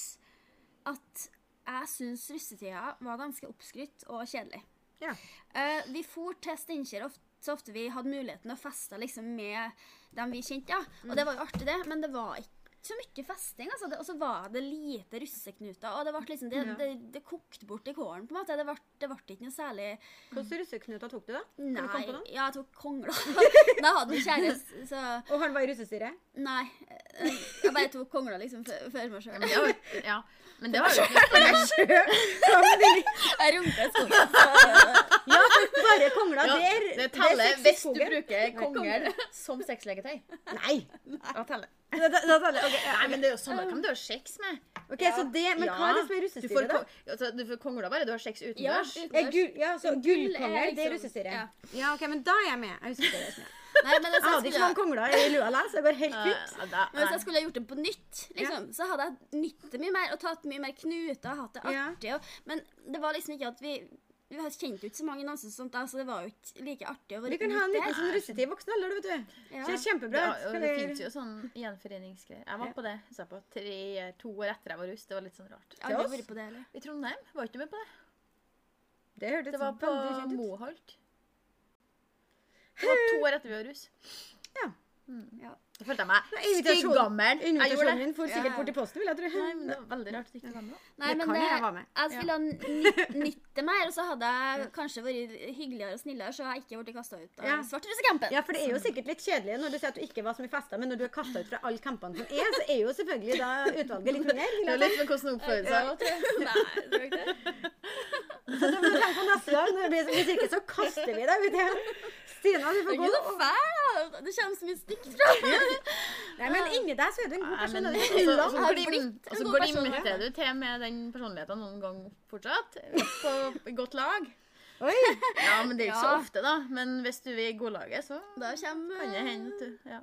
at jeg syns russetida var ganske oppskrytt og kjedelig. Ja. Eh, vi for til Steinkjer of- så ofte vi hadde muligheten å feste liksom, med dem vi kjente. Ja. Mm. Og det var jo artig, det, men det var ikke så mye festing. Altså. Det- Og så var det lite russeknuter. Og det, ble liksom, det, Ja. det, det kokte bort i kålen, på en måte. Det ble, det ble ikke noe særlig Hvilke russeknuter tok du, da? Kan du komme Nei. på noen? Ja, jeg tok kongla. [LAUGHS] da hadde vi kjæreste, så Og han var i [LAUGHS] russestyret? Nei. eh, Jeg bare tok kongla liksom før før meg sjøl. Men det var, [LAUGHS] ja. Men det var jo ikke [LAUGHS] Jeg runka i skogen. så- Ja, for bare kongla, ja, det er Det er teller sex i hvis du skogen. bruker kongel [LAUGHS] som sexleketøy. Nei! Da teller det. Da, da, da teller. ok, ja. Nei, men det er jo samme hvem du har sex med. Ok, så det, Men hva er det som Du er får russestyret, da? ko- altså, du får kongla bare du har sex Ja, utendørs. utendørs. Er gull, ja, så Gull er Gullkonger, det er liksom- russestyret. ja. Ja. ok, men da er jeg med. Jeg husker det. Jeg Nei, men altså, hadde jeg ikke skulle- mange kongler i lua la, så det går helt Ja, fint. ja, da- Men hvis nei. jeg skulle ha gjort det på nytt, liksom, så hadde jeg nytt det mye mer og tatt mye mer knuter. Hatt det Ja. artig. Og, men det var liksom ikke at vi Vi kjente jo ikke så mange i Namsos, og sånt da, så det var jo ikke like artig å være Vi kan ha en ute. liten sånn russetid i voksen alder, du vet du. Ja. Så det er kjempebra. Ja, Skal og det vi- finnes jo sånn gjenforeningsgreier. Jeg var på det. Jeg sa på tre, to år etter jeg var russ. Det var litt sånn rart. Jeg har oss. aldri vært på det heller. I Trondheim var ikke du med på det. det hørtes Det var på veldig kjent ut. Moholt. Det var to år etter vi var russ. Mm. Ja. Ja. Da følte jeg meg invitasjon- stygggammel. Jeg gjorde Invitasjonen det. min for sikkert Ja. bort i posten, vil jeg tro. Nei, men det var veldig rart at du ikke var med. da. Nei, Det men kan det, jeg være med. jeg skulle ha nytt- nytt det mer, og så hadde [LAUGHS] jeg kanskje vært hyggeligere og snillere, så jeg ikke ble kasta ut av Ja. svarterussekampen. Ja, for det er jo sikkert litt kjedelig når du sier at du ikke var så mye festa, men når du er kasta ut fra alle kampene som er, så er jo selvfølgelig da utvalget litt mindre. vil Det jeg var litt med hvordan hun oppførte seg. også, tror jeg. [LAUGHS] Nei, tror jeg ikke det. Så det må du tenke på neste gang. Når det blir så mye kirke, så kaster vi deg ut igjen. Stina, du Du får er gå. ikke så fæl, da. Det kommer så mye stygt fra. Nei, men inni deg så er du en god Nei, person. altså, men altså, også, og det er også, langt. har glim- blitt en også god glimter personlighet. du til med den personligheten noen gang fortsatt. På i godt lag. Oi, Ja, men det er ikke så Ja. ofte, da. Men hvis du er i godlaget, så Da kommer kan det hende. at du- Ja.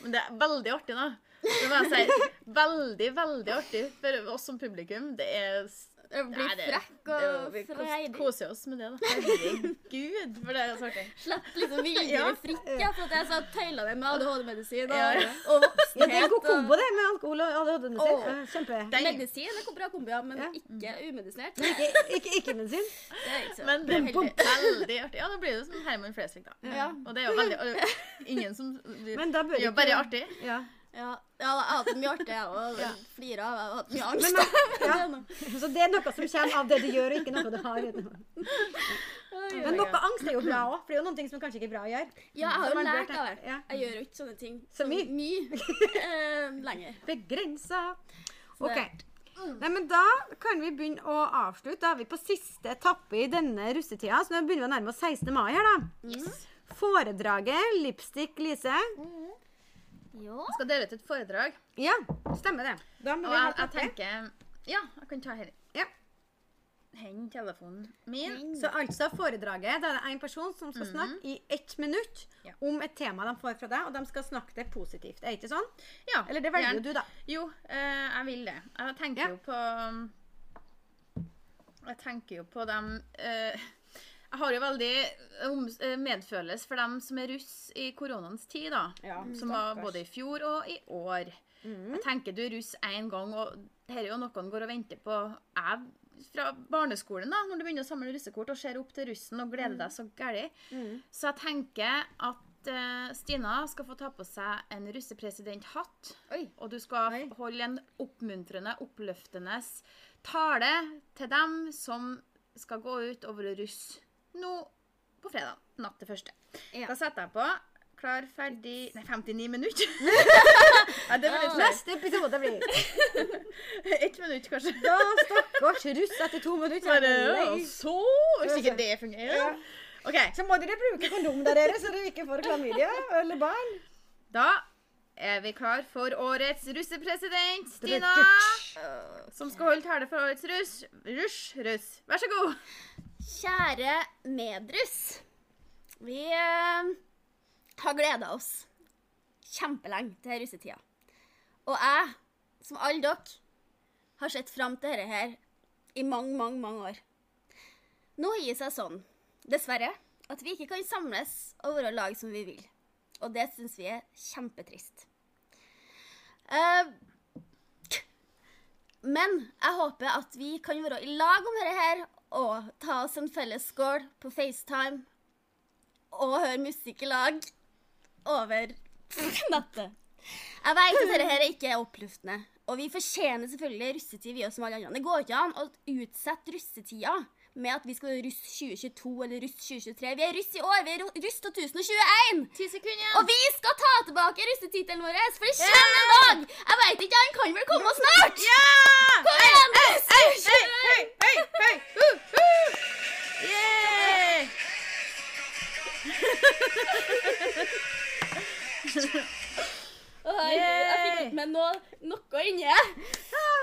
Men det er veldig artig, da. Det må jeg si. Veldig, veldig artig for oss som publikum. Det er s- Jeg blir Nei, det- frekk det er- og Vi kos- freidig. koser oss med det, da. Herregud, for det er så artig. Slipp liksom vilje Ja. fritt, ja, for at jeg så tøyla det med ADHD-medisin Ja, og, ja. og ja, det er voksenhet. en god eh, kombo det med alkohol og ADHD-musikk. Åh. Kjempe. og Deilig. medisin er en bra kombi, ja, men Ja. ikke umedisinert. [LAUGHS] Ikke, ikke, ikke medisin. Det er ikke så Men det er veldig artig. Ja, da blir det som Herman Flesvig, da. Ja. Og det er jo [LAUGHS] veldig og det er Ingen som Det Men da bør er jo ikke- bare artig. Ja. Ja, ja, jeg har hatt det mye artig, jeg òg. Flira av, jeg har hatt mye angst. [LAUGHS] ja. Så det er noe som kommer av det du gjør, og ikke noe du har. Men noe angst er jo bra òg, for det er jo noen ting som kanskje ikke er bra å gjøre. Ja, jeg har Som jo man bør lært av tenke- det. ja. Jeg gjør jo ikke sånne ting Så mye? eh, lenger. Begrensa. Så OK. det- Nei, men Da kan vi begynne å avslutte. Da er vi på siste etappe i denne russetida. Så nå begynner vi å nærme oss 16. mai her, da. Foredraget Lipstick Lise. Ja. Jeg skal dele ut et foredrag. Ja, stemmer det. Da må Og vi ha jeg, jeg kaffe. tenker Ja, jeg kan ta her. Ja. Hen telefonen min. Så altså foredraget, da er det én person som skal snakke i ett minutt Mhm. Ja. om et tema de får fra deg, og de skal snakke det positivt. Er det ikke sånn? Ja, Eller det velger jo gjerne. du, da. Jo, eh, jeg vil det. Jeg tenker Ja. jo på Jeg tenker jo på dem eh, Jeg har jo veldig oms- eh, medfølelse for dem som er russ i koronaens tid, da. Ja, som var Mm, stakkars. Mm. både i fjor og i år. Jeg tenker du er russ én gang, og dette er jo noe han går og venter på. Jeg, fra barneskolen, da, Mm. når du begynner å samle russekort og ser opp til russen og gleder deg så gæli. Så jeg tenker at at eh, Stina skal få ta på seg en russepresidenthatt. Oi. Og du skal Oi. holde en oppmuntrende, oppløftende tale til dem som skal gå ut og være russ nå på fredag. Natt til første. Ja. Da setter jeg på. Klar, ferdig Nei, 59 [LAUGHS] minutter. ja, det var litt flaut. Neste [LAUGHS] episode blir Ett minutt, kanskje. Da, stakkars russ etter to minutter. Bare, Nei. og så Hvis ikke det fungerer. OK. Så må dere bruke kondom der dere, så dere ikke får klamydia eller barn. Da er vi klar for årets russepresident, Stina. Som skal holde tale for årets russ. Russ, russ. Vær så god. Kjære medruss. Vi eh, har gleda oss kjempelenge til russetida. Og jeg, som alle dere, har sett fram til dette her i mange, mange, mange år. Nå gir det seg sånn, dessverre, at vi ikke kan samles og være lag som vi vil. Og det syns vi er kjempetrist. Eh, men jeg håper at vi kan være i lag om dette her, og ta oss en felles skål på FaceTime og høre musikk i lag over [LAUGHS] nettet. Jeg vet at dette her ikke er oppluftende, og vi fortjener selvfølgelig russetid, vi også som alle andre. Det går ikke an å utsette russetida med at vi skal være russ 2022 eller russ 2023. Vi er russ i år, vi er ru- russ 2021! Ti sekunder Og vi skal ta tilbake russetittelen vår, for det kommer en dag! Jeg veit ikke, han kan vel komme snart? Ja! Kom igjen, russ! Hei, hei, hei, hei! Uh, uh! Yeah! Å, herregud, jeg fikk Yay! ikke med noe, noe inni.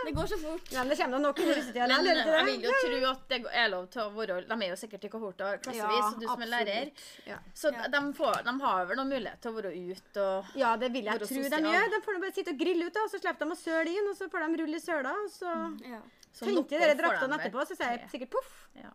Det går så fort. Ja, men det kommer nok i russetida. Men eller? jeg vil jo tro at det er lov til å være De er jo sikkert i kohorter klassevis, Ja, og du som er lærer. absolutt. Ja. Så de, får, de har vel noen mulighet til å være ute og Ja, det vil jeg Hvor tro også de sosial. gjør. De får nå bare sitte og grille ut, da, og så slipper de å søle inn, og så får de rulle i søla. Og så Ja. Mm. så tenker noe de dere får draktene de vel. etterpå, så sier jeg sikkert poff. Ja.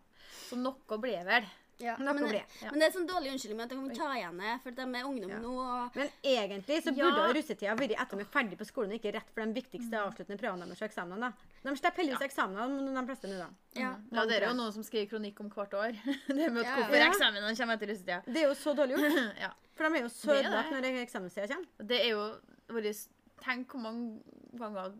Så noe blir vel. Noe Men, det, ble. Ja. men det er sånn dårlig unnskyldning med at de kan ta igjen det, for de er ungdom Ja. nå. og... Men egentlig Ja. så Mm. burde jo russetida vært etter de er ferdig på skolen, og ikke rett for de viktigste avsluttende prøvene deres og eksamenene. da. De slipper heldigvis eksamenene de fleste nå, da. Ja. Ja, det er jo noen som skriver kronikk om hvert år. [LAUGHS] Det er med at Ja. hvorfor Ja. eksamenene kommer etter russetida. [CLEARS THROAT] Det er jo så dårlig gjort. Ja. For de er jo så Det er det. ødelagt når eksamenstida kommer. Det er jo vår Tenk hvor mange ganger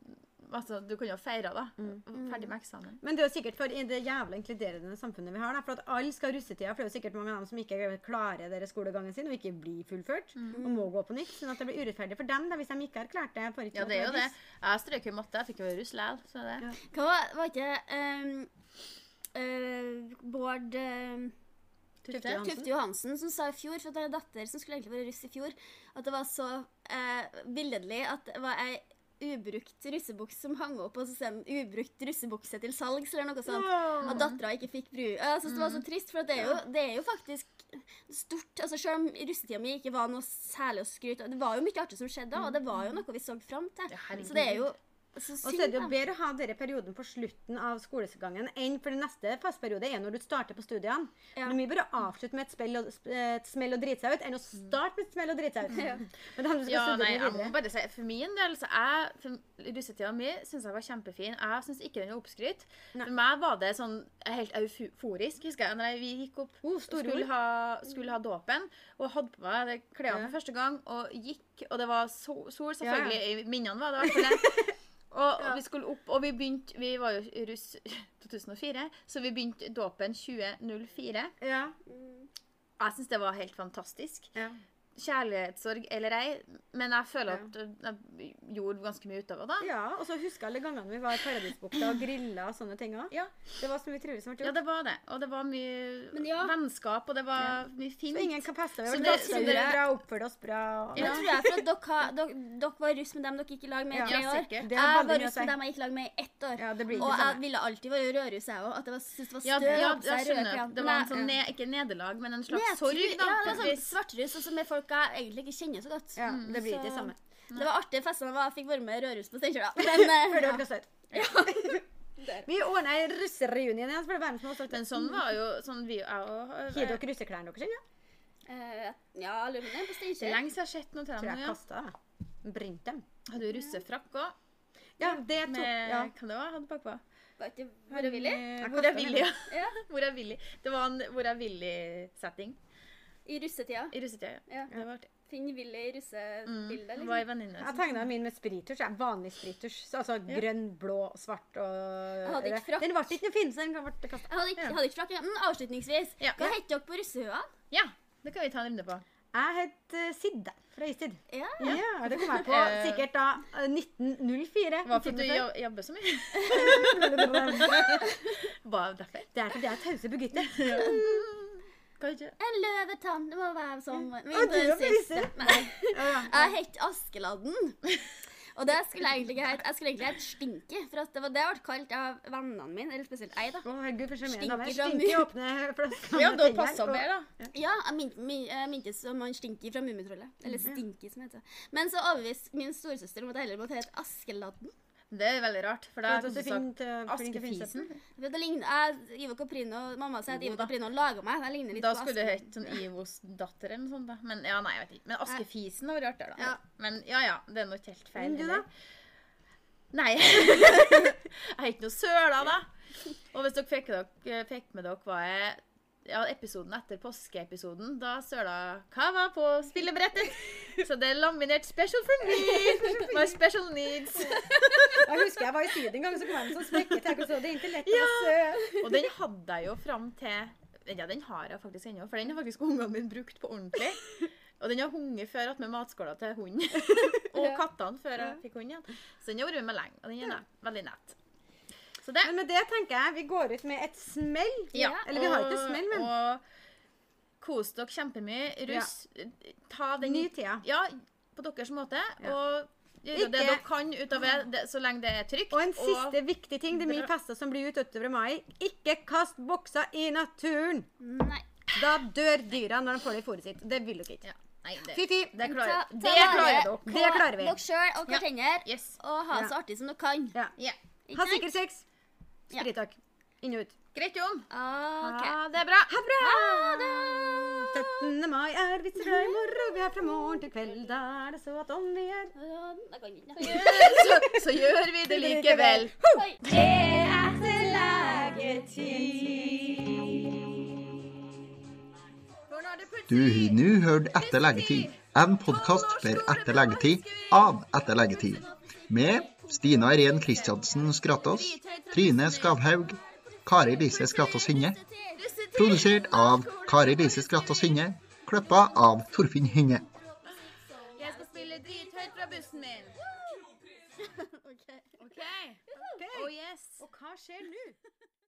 altså, du kunne ha feira, da. Ferdig med eksamen. Men det er jo sikkert for i det jævla inkluderende samfunnet vi har, da, for at alle skal ha russetida. For det er jo sikkert mange av dem som ikke klarer deres skolegangen sin, og ikke blir fullført, Mm. og må gå på nytt. Sånn at det blir urettferdig for dem da, hvis de ikke har klart det. for ikke Ja, å det er være jo det. russ. Jeg strøk jo i matte. Jeg fikk jo være russ likevel, så det Ja. Hva var, var ikke ehm, eh, Bård ehm, Tufte. Tufte, ja. Johansen? Tufte Johansen som sa i fjor, for at han har en datter som skulle egentlig være russ i fjor, at det var så eh, billedlig at det var ei ubrukt russebukse som hang opp, og så ser de ubrukt russebukse til salgs, eller noe Sånn. sånt. Åh. At dattera ikke fikk bru. Jeg synes det Mm. var så trist, for at det er jo, det er jo faktisk stort. altså Selv om russetida mi ikke var noe særlig å skryte av, det var jo mye artig som skjedde da, og det var jo noe vi så fram til. Ja, herregud. Så det er jo så Mm. Og så er synd. det jo da. bedre å ha denne perioden på slutten av skolegangen enn for den neste fastperiode er når du starter på studiene. Ja. Det er mye bedre å avslutte med et, spell og, sp- eh, et smell og drite seg ut enn å starte med et smell og drite seg ut. Men da må du Mm. skal Ja, studere nei, jeg må videre. bare si, For min del så jeg, for russetida mi syns jeg var kjempefin. Jeg syns ikke den er oppskrytt. For meg var det sånn helt euforisk, husker jeg, når jeg- vi gikk opp Oh, og storord. skulle ha, skulle ha dåpen. Og hadde på meg det klærne Ja. for første gang og gikk, og det var sol, sol Ja, ja. selvfølgelig. i Minnene var det [LAUGHS] i hvert fall det. Og, og vi skulle opp, og vi begynte Vi var jo russ [LAUGHS] 2004, så vi begynte dåpen 2004. Ja, Jeg syns det var helt fantastisk ja. kjærlighetssorg eller ei, men jeg føler Ja. at eh, jeg gjorde ganske mye utover da. ja, og så husker jeg alle gangene vi var i Paradisbukta og grilla og sånne ting òg. Ja. Det var så mye trivelig som ble Ja, gjort. det var det. Og det var mye Men ja. vennskap, og det var mye fint. Så ingen kan passe Så over. det- Det, så det, dere- bra, oppførte oss bra. Og, Men Ja. tror jeg for at dere, har- dere, dere var russ med dem dere gikk i lag med Ja, i tre år. sikkert. Det Jeg har var veldig mye å russ si. med dem jeg gikk i lag med i ett år. Ja, det blir ikke sånn. og det jeg samme. ville alltid være rødruss, jeg òg. At jeg var- syntes det var Ja, støv ja, på jeg seg røde skjønner. klær. Det var Men en sånn jeg- ne, ikke nederlag, men en Nedtur- slags sorg, da. Ja, på det et var sånn vis. svartrus, også med folk jeg egentlig ikke kjenner så godt. Mm. ja, Mm. det blir ikke Så- det samme. Det var artige fester. Jeg fikk være med i Røros på [LAUGHS] Steinkjer, da. Men, Før eh, det ble søtt. [LAUGHS] [LAUGHS] Vi ordna ei russereunion igjen. så ble det verden som var stolt. Men sånn var jo sånn vi jeg og Har jeg- dere russeklærne deres ennå? eh, ja, jeg lurer på om det er Det på er Steinkjer. lenge siden jeg har sett noe til Tror dem. jeg nå, Ja. kasta dem. Brente dem. Hadde jo russefrakk òg, Ja, det tok med ja. hva det var hadde bakpå. Var ikke Hvor er Willy? Eh, Hvor er kastet Willy? dem. ja. Hvor er Willy? Det var en Hvor er Willy-setting. I russetida. I russetida, ja. Ja. Det var artig. Finn Willy i russebildet, Mm. liksom. Var i venninne. Jeg tegna min med spiritusj. jeg. Vanlig spiritusj. Så, altså grønn, blå, svart og hadde ikke frakk. Den ble ikke noe fin, så den ble kastet. Jeg hadde ikke, Ja. hadde ikke frakk. Mm, avslutningsvis, Ja. hva heter dere på russehua? Ja, det kan vi ta en runde på. Jeg het eh, Sidde fra Istid. Ja. Ja. det kom jeg på Eh, sikkert da eh, 1904. Var det fordi Tiden du før. jo- jobber så [LAUGHS] mye? Bare derfor? [LAUGHS] Det er fordi jeg er tause Birgitte. Kanskje. En løvetann det må være som min Og du er på siste. russer. Nei. Ja, ja. Jeg het Askeladden. Og det skulle jeg egentlig ikke hete. Jeg skulle egentlig hete Stinky, for at det var det jeg ble kalt av vennene mine. Eller spesielt ei, da. Å, herregud, for sjarmerende av meg. Stinker fra Stinker i åpne flasker. Ja, med da fingeren, passet og- mer, da. Ja, jeg min- min- jeg mintes som han Stinky fra Mummitrollet. Eller Mhm. Stinky, som det heter. Men så overbeviste min storesøster om at jeg heller måtte hete Askeladden. Det er veldig rart, for da Flott er at du det sånn finner- eh, flink til å finne seg. Askefisen. For det ligner, jeg, Ivo Caprino, Mamma sier at Ivo Caprino laga meg. Jeg ligner litt Da på skulle det Askeladden. hett sånn Ivos datter eller noe sånt. da. Men ja, nei, jeg vet ikke. Men Askefisen hadde vært artigere, da. Ja. Men ja ja, det er nok helt feil. Men du da? heller. Nei. [LAUGHS] jeg er ikke noe søla, da. Og hvis dere fikk, dere, fikk med dere hva jeg ja, episoden etter påskeepisoden, da søla Hva var på spillebrettet? Så det er laminert 'Special for me'. My special needs. Jeg husker jeg var i Syd en gang, så kom jeg med sånn sprekket her, og så det intellektet ja. Og den hadde jeg jo fram til Ja, den har jeg faktisk ennå, for den har faktisk ungene mine brukt på ordentlig. Og den har hunget før attmed matskåla til [LAUGHS] hunden. Og kattene før jeg fikk hunden igjen. Så den har vært med meg lenge, og den er nett, veldig nett. Så det Men med det tenker jeg vi går ut med et smell. ja. Eller vi har ikke smell, men Og kos dere kjempemye. Russ, ta den ny tida. Ja, på deres måte. Ja. Og gjøre det Ikke- dere kan ut av det, det, så lenge det er trygt. Og en siste viktig ting. Det er mye Bra. fester som blir ut utover mai. Ikke kast bokser i naturen! Nei. Da dør dyra når de får det i fôret sitt. Det vil dere ikke. ja. Nei, det, Fy-fy. det klarer, Ta- ta det vare klarer dere. på Det klarer vi. Dere sjøl og Ja. hverandre. Yes. Og ha det så artig som dere kan. Ja. Ja. Ikke Ha sant? sikker sex. Ja. Sprittak. Inn og ut. Greit, Jon. Ok. Ha det bra. Ha det bra! Ha det! 17. mai er vitser og i morgen, vi er fra morgen til kveld. Da er det så at om vi er Jeg kan ikke. så, så gjør vi det likevel. Det er til lagetid. Du har nå hørt Etter legetid, en podkast for etter legetid av Etter legetid. Med Stina Irén Kristiansen Skrattås, Trine Skavhaug, Kari Lise Skrattås Hinne. Produsert av Kari Lise Skrattås Hinne, klippa av Torfinn Hinne. Jeg skal spille drithøyt fra bussen min. Okay. [LAUGHS] OK? Oh yes. Og hva skjer nå?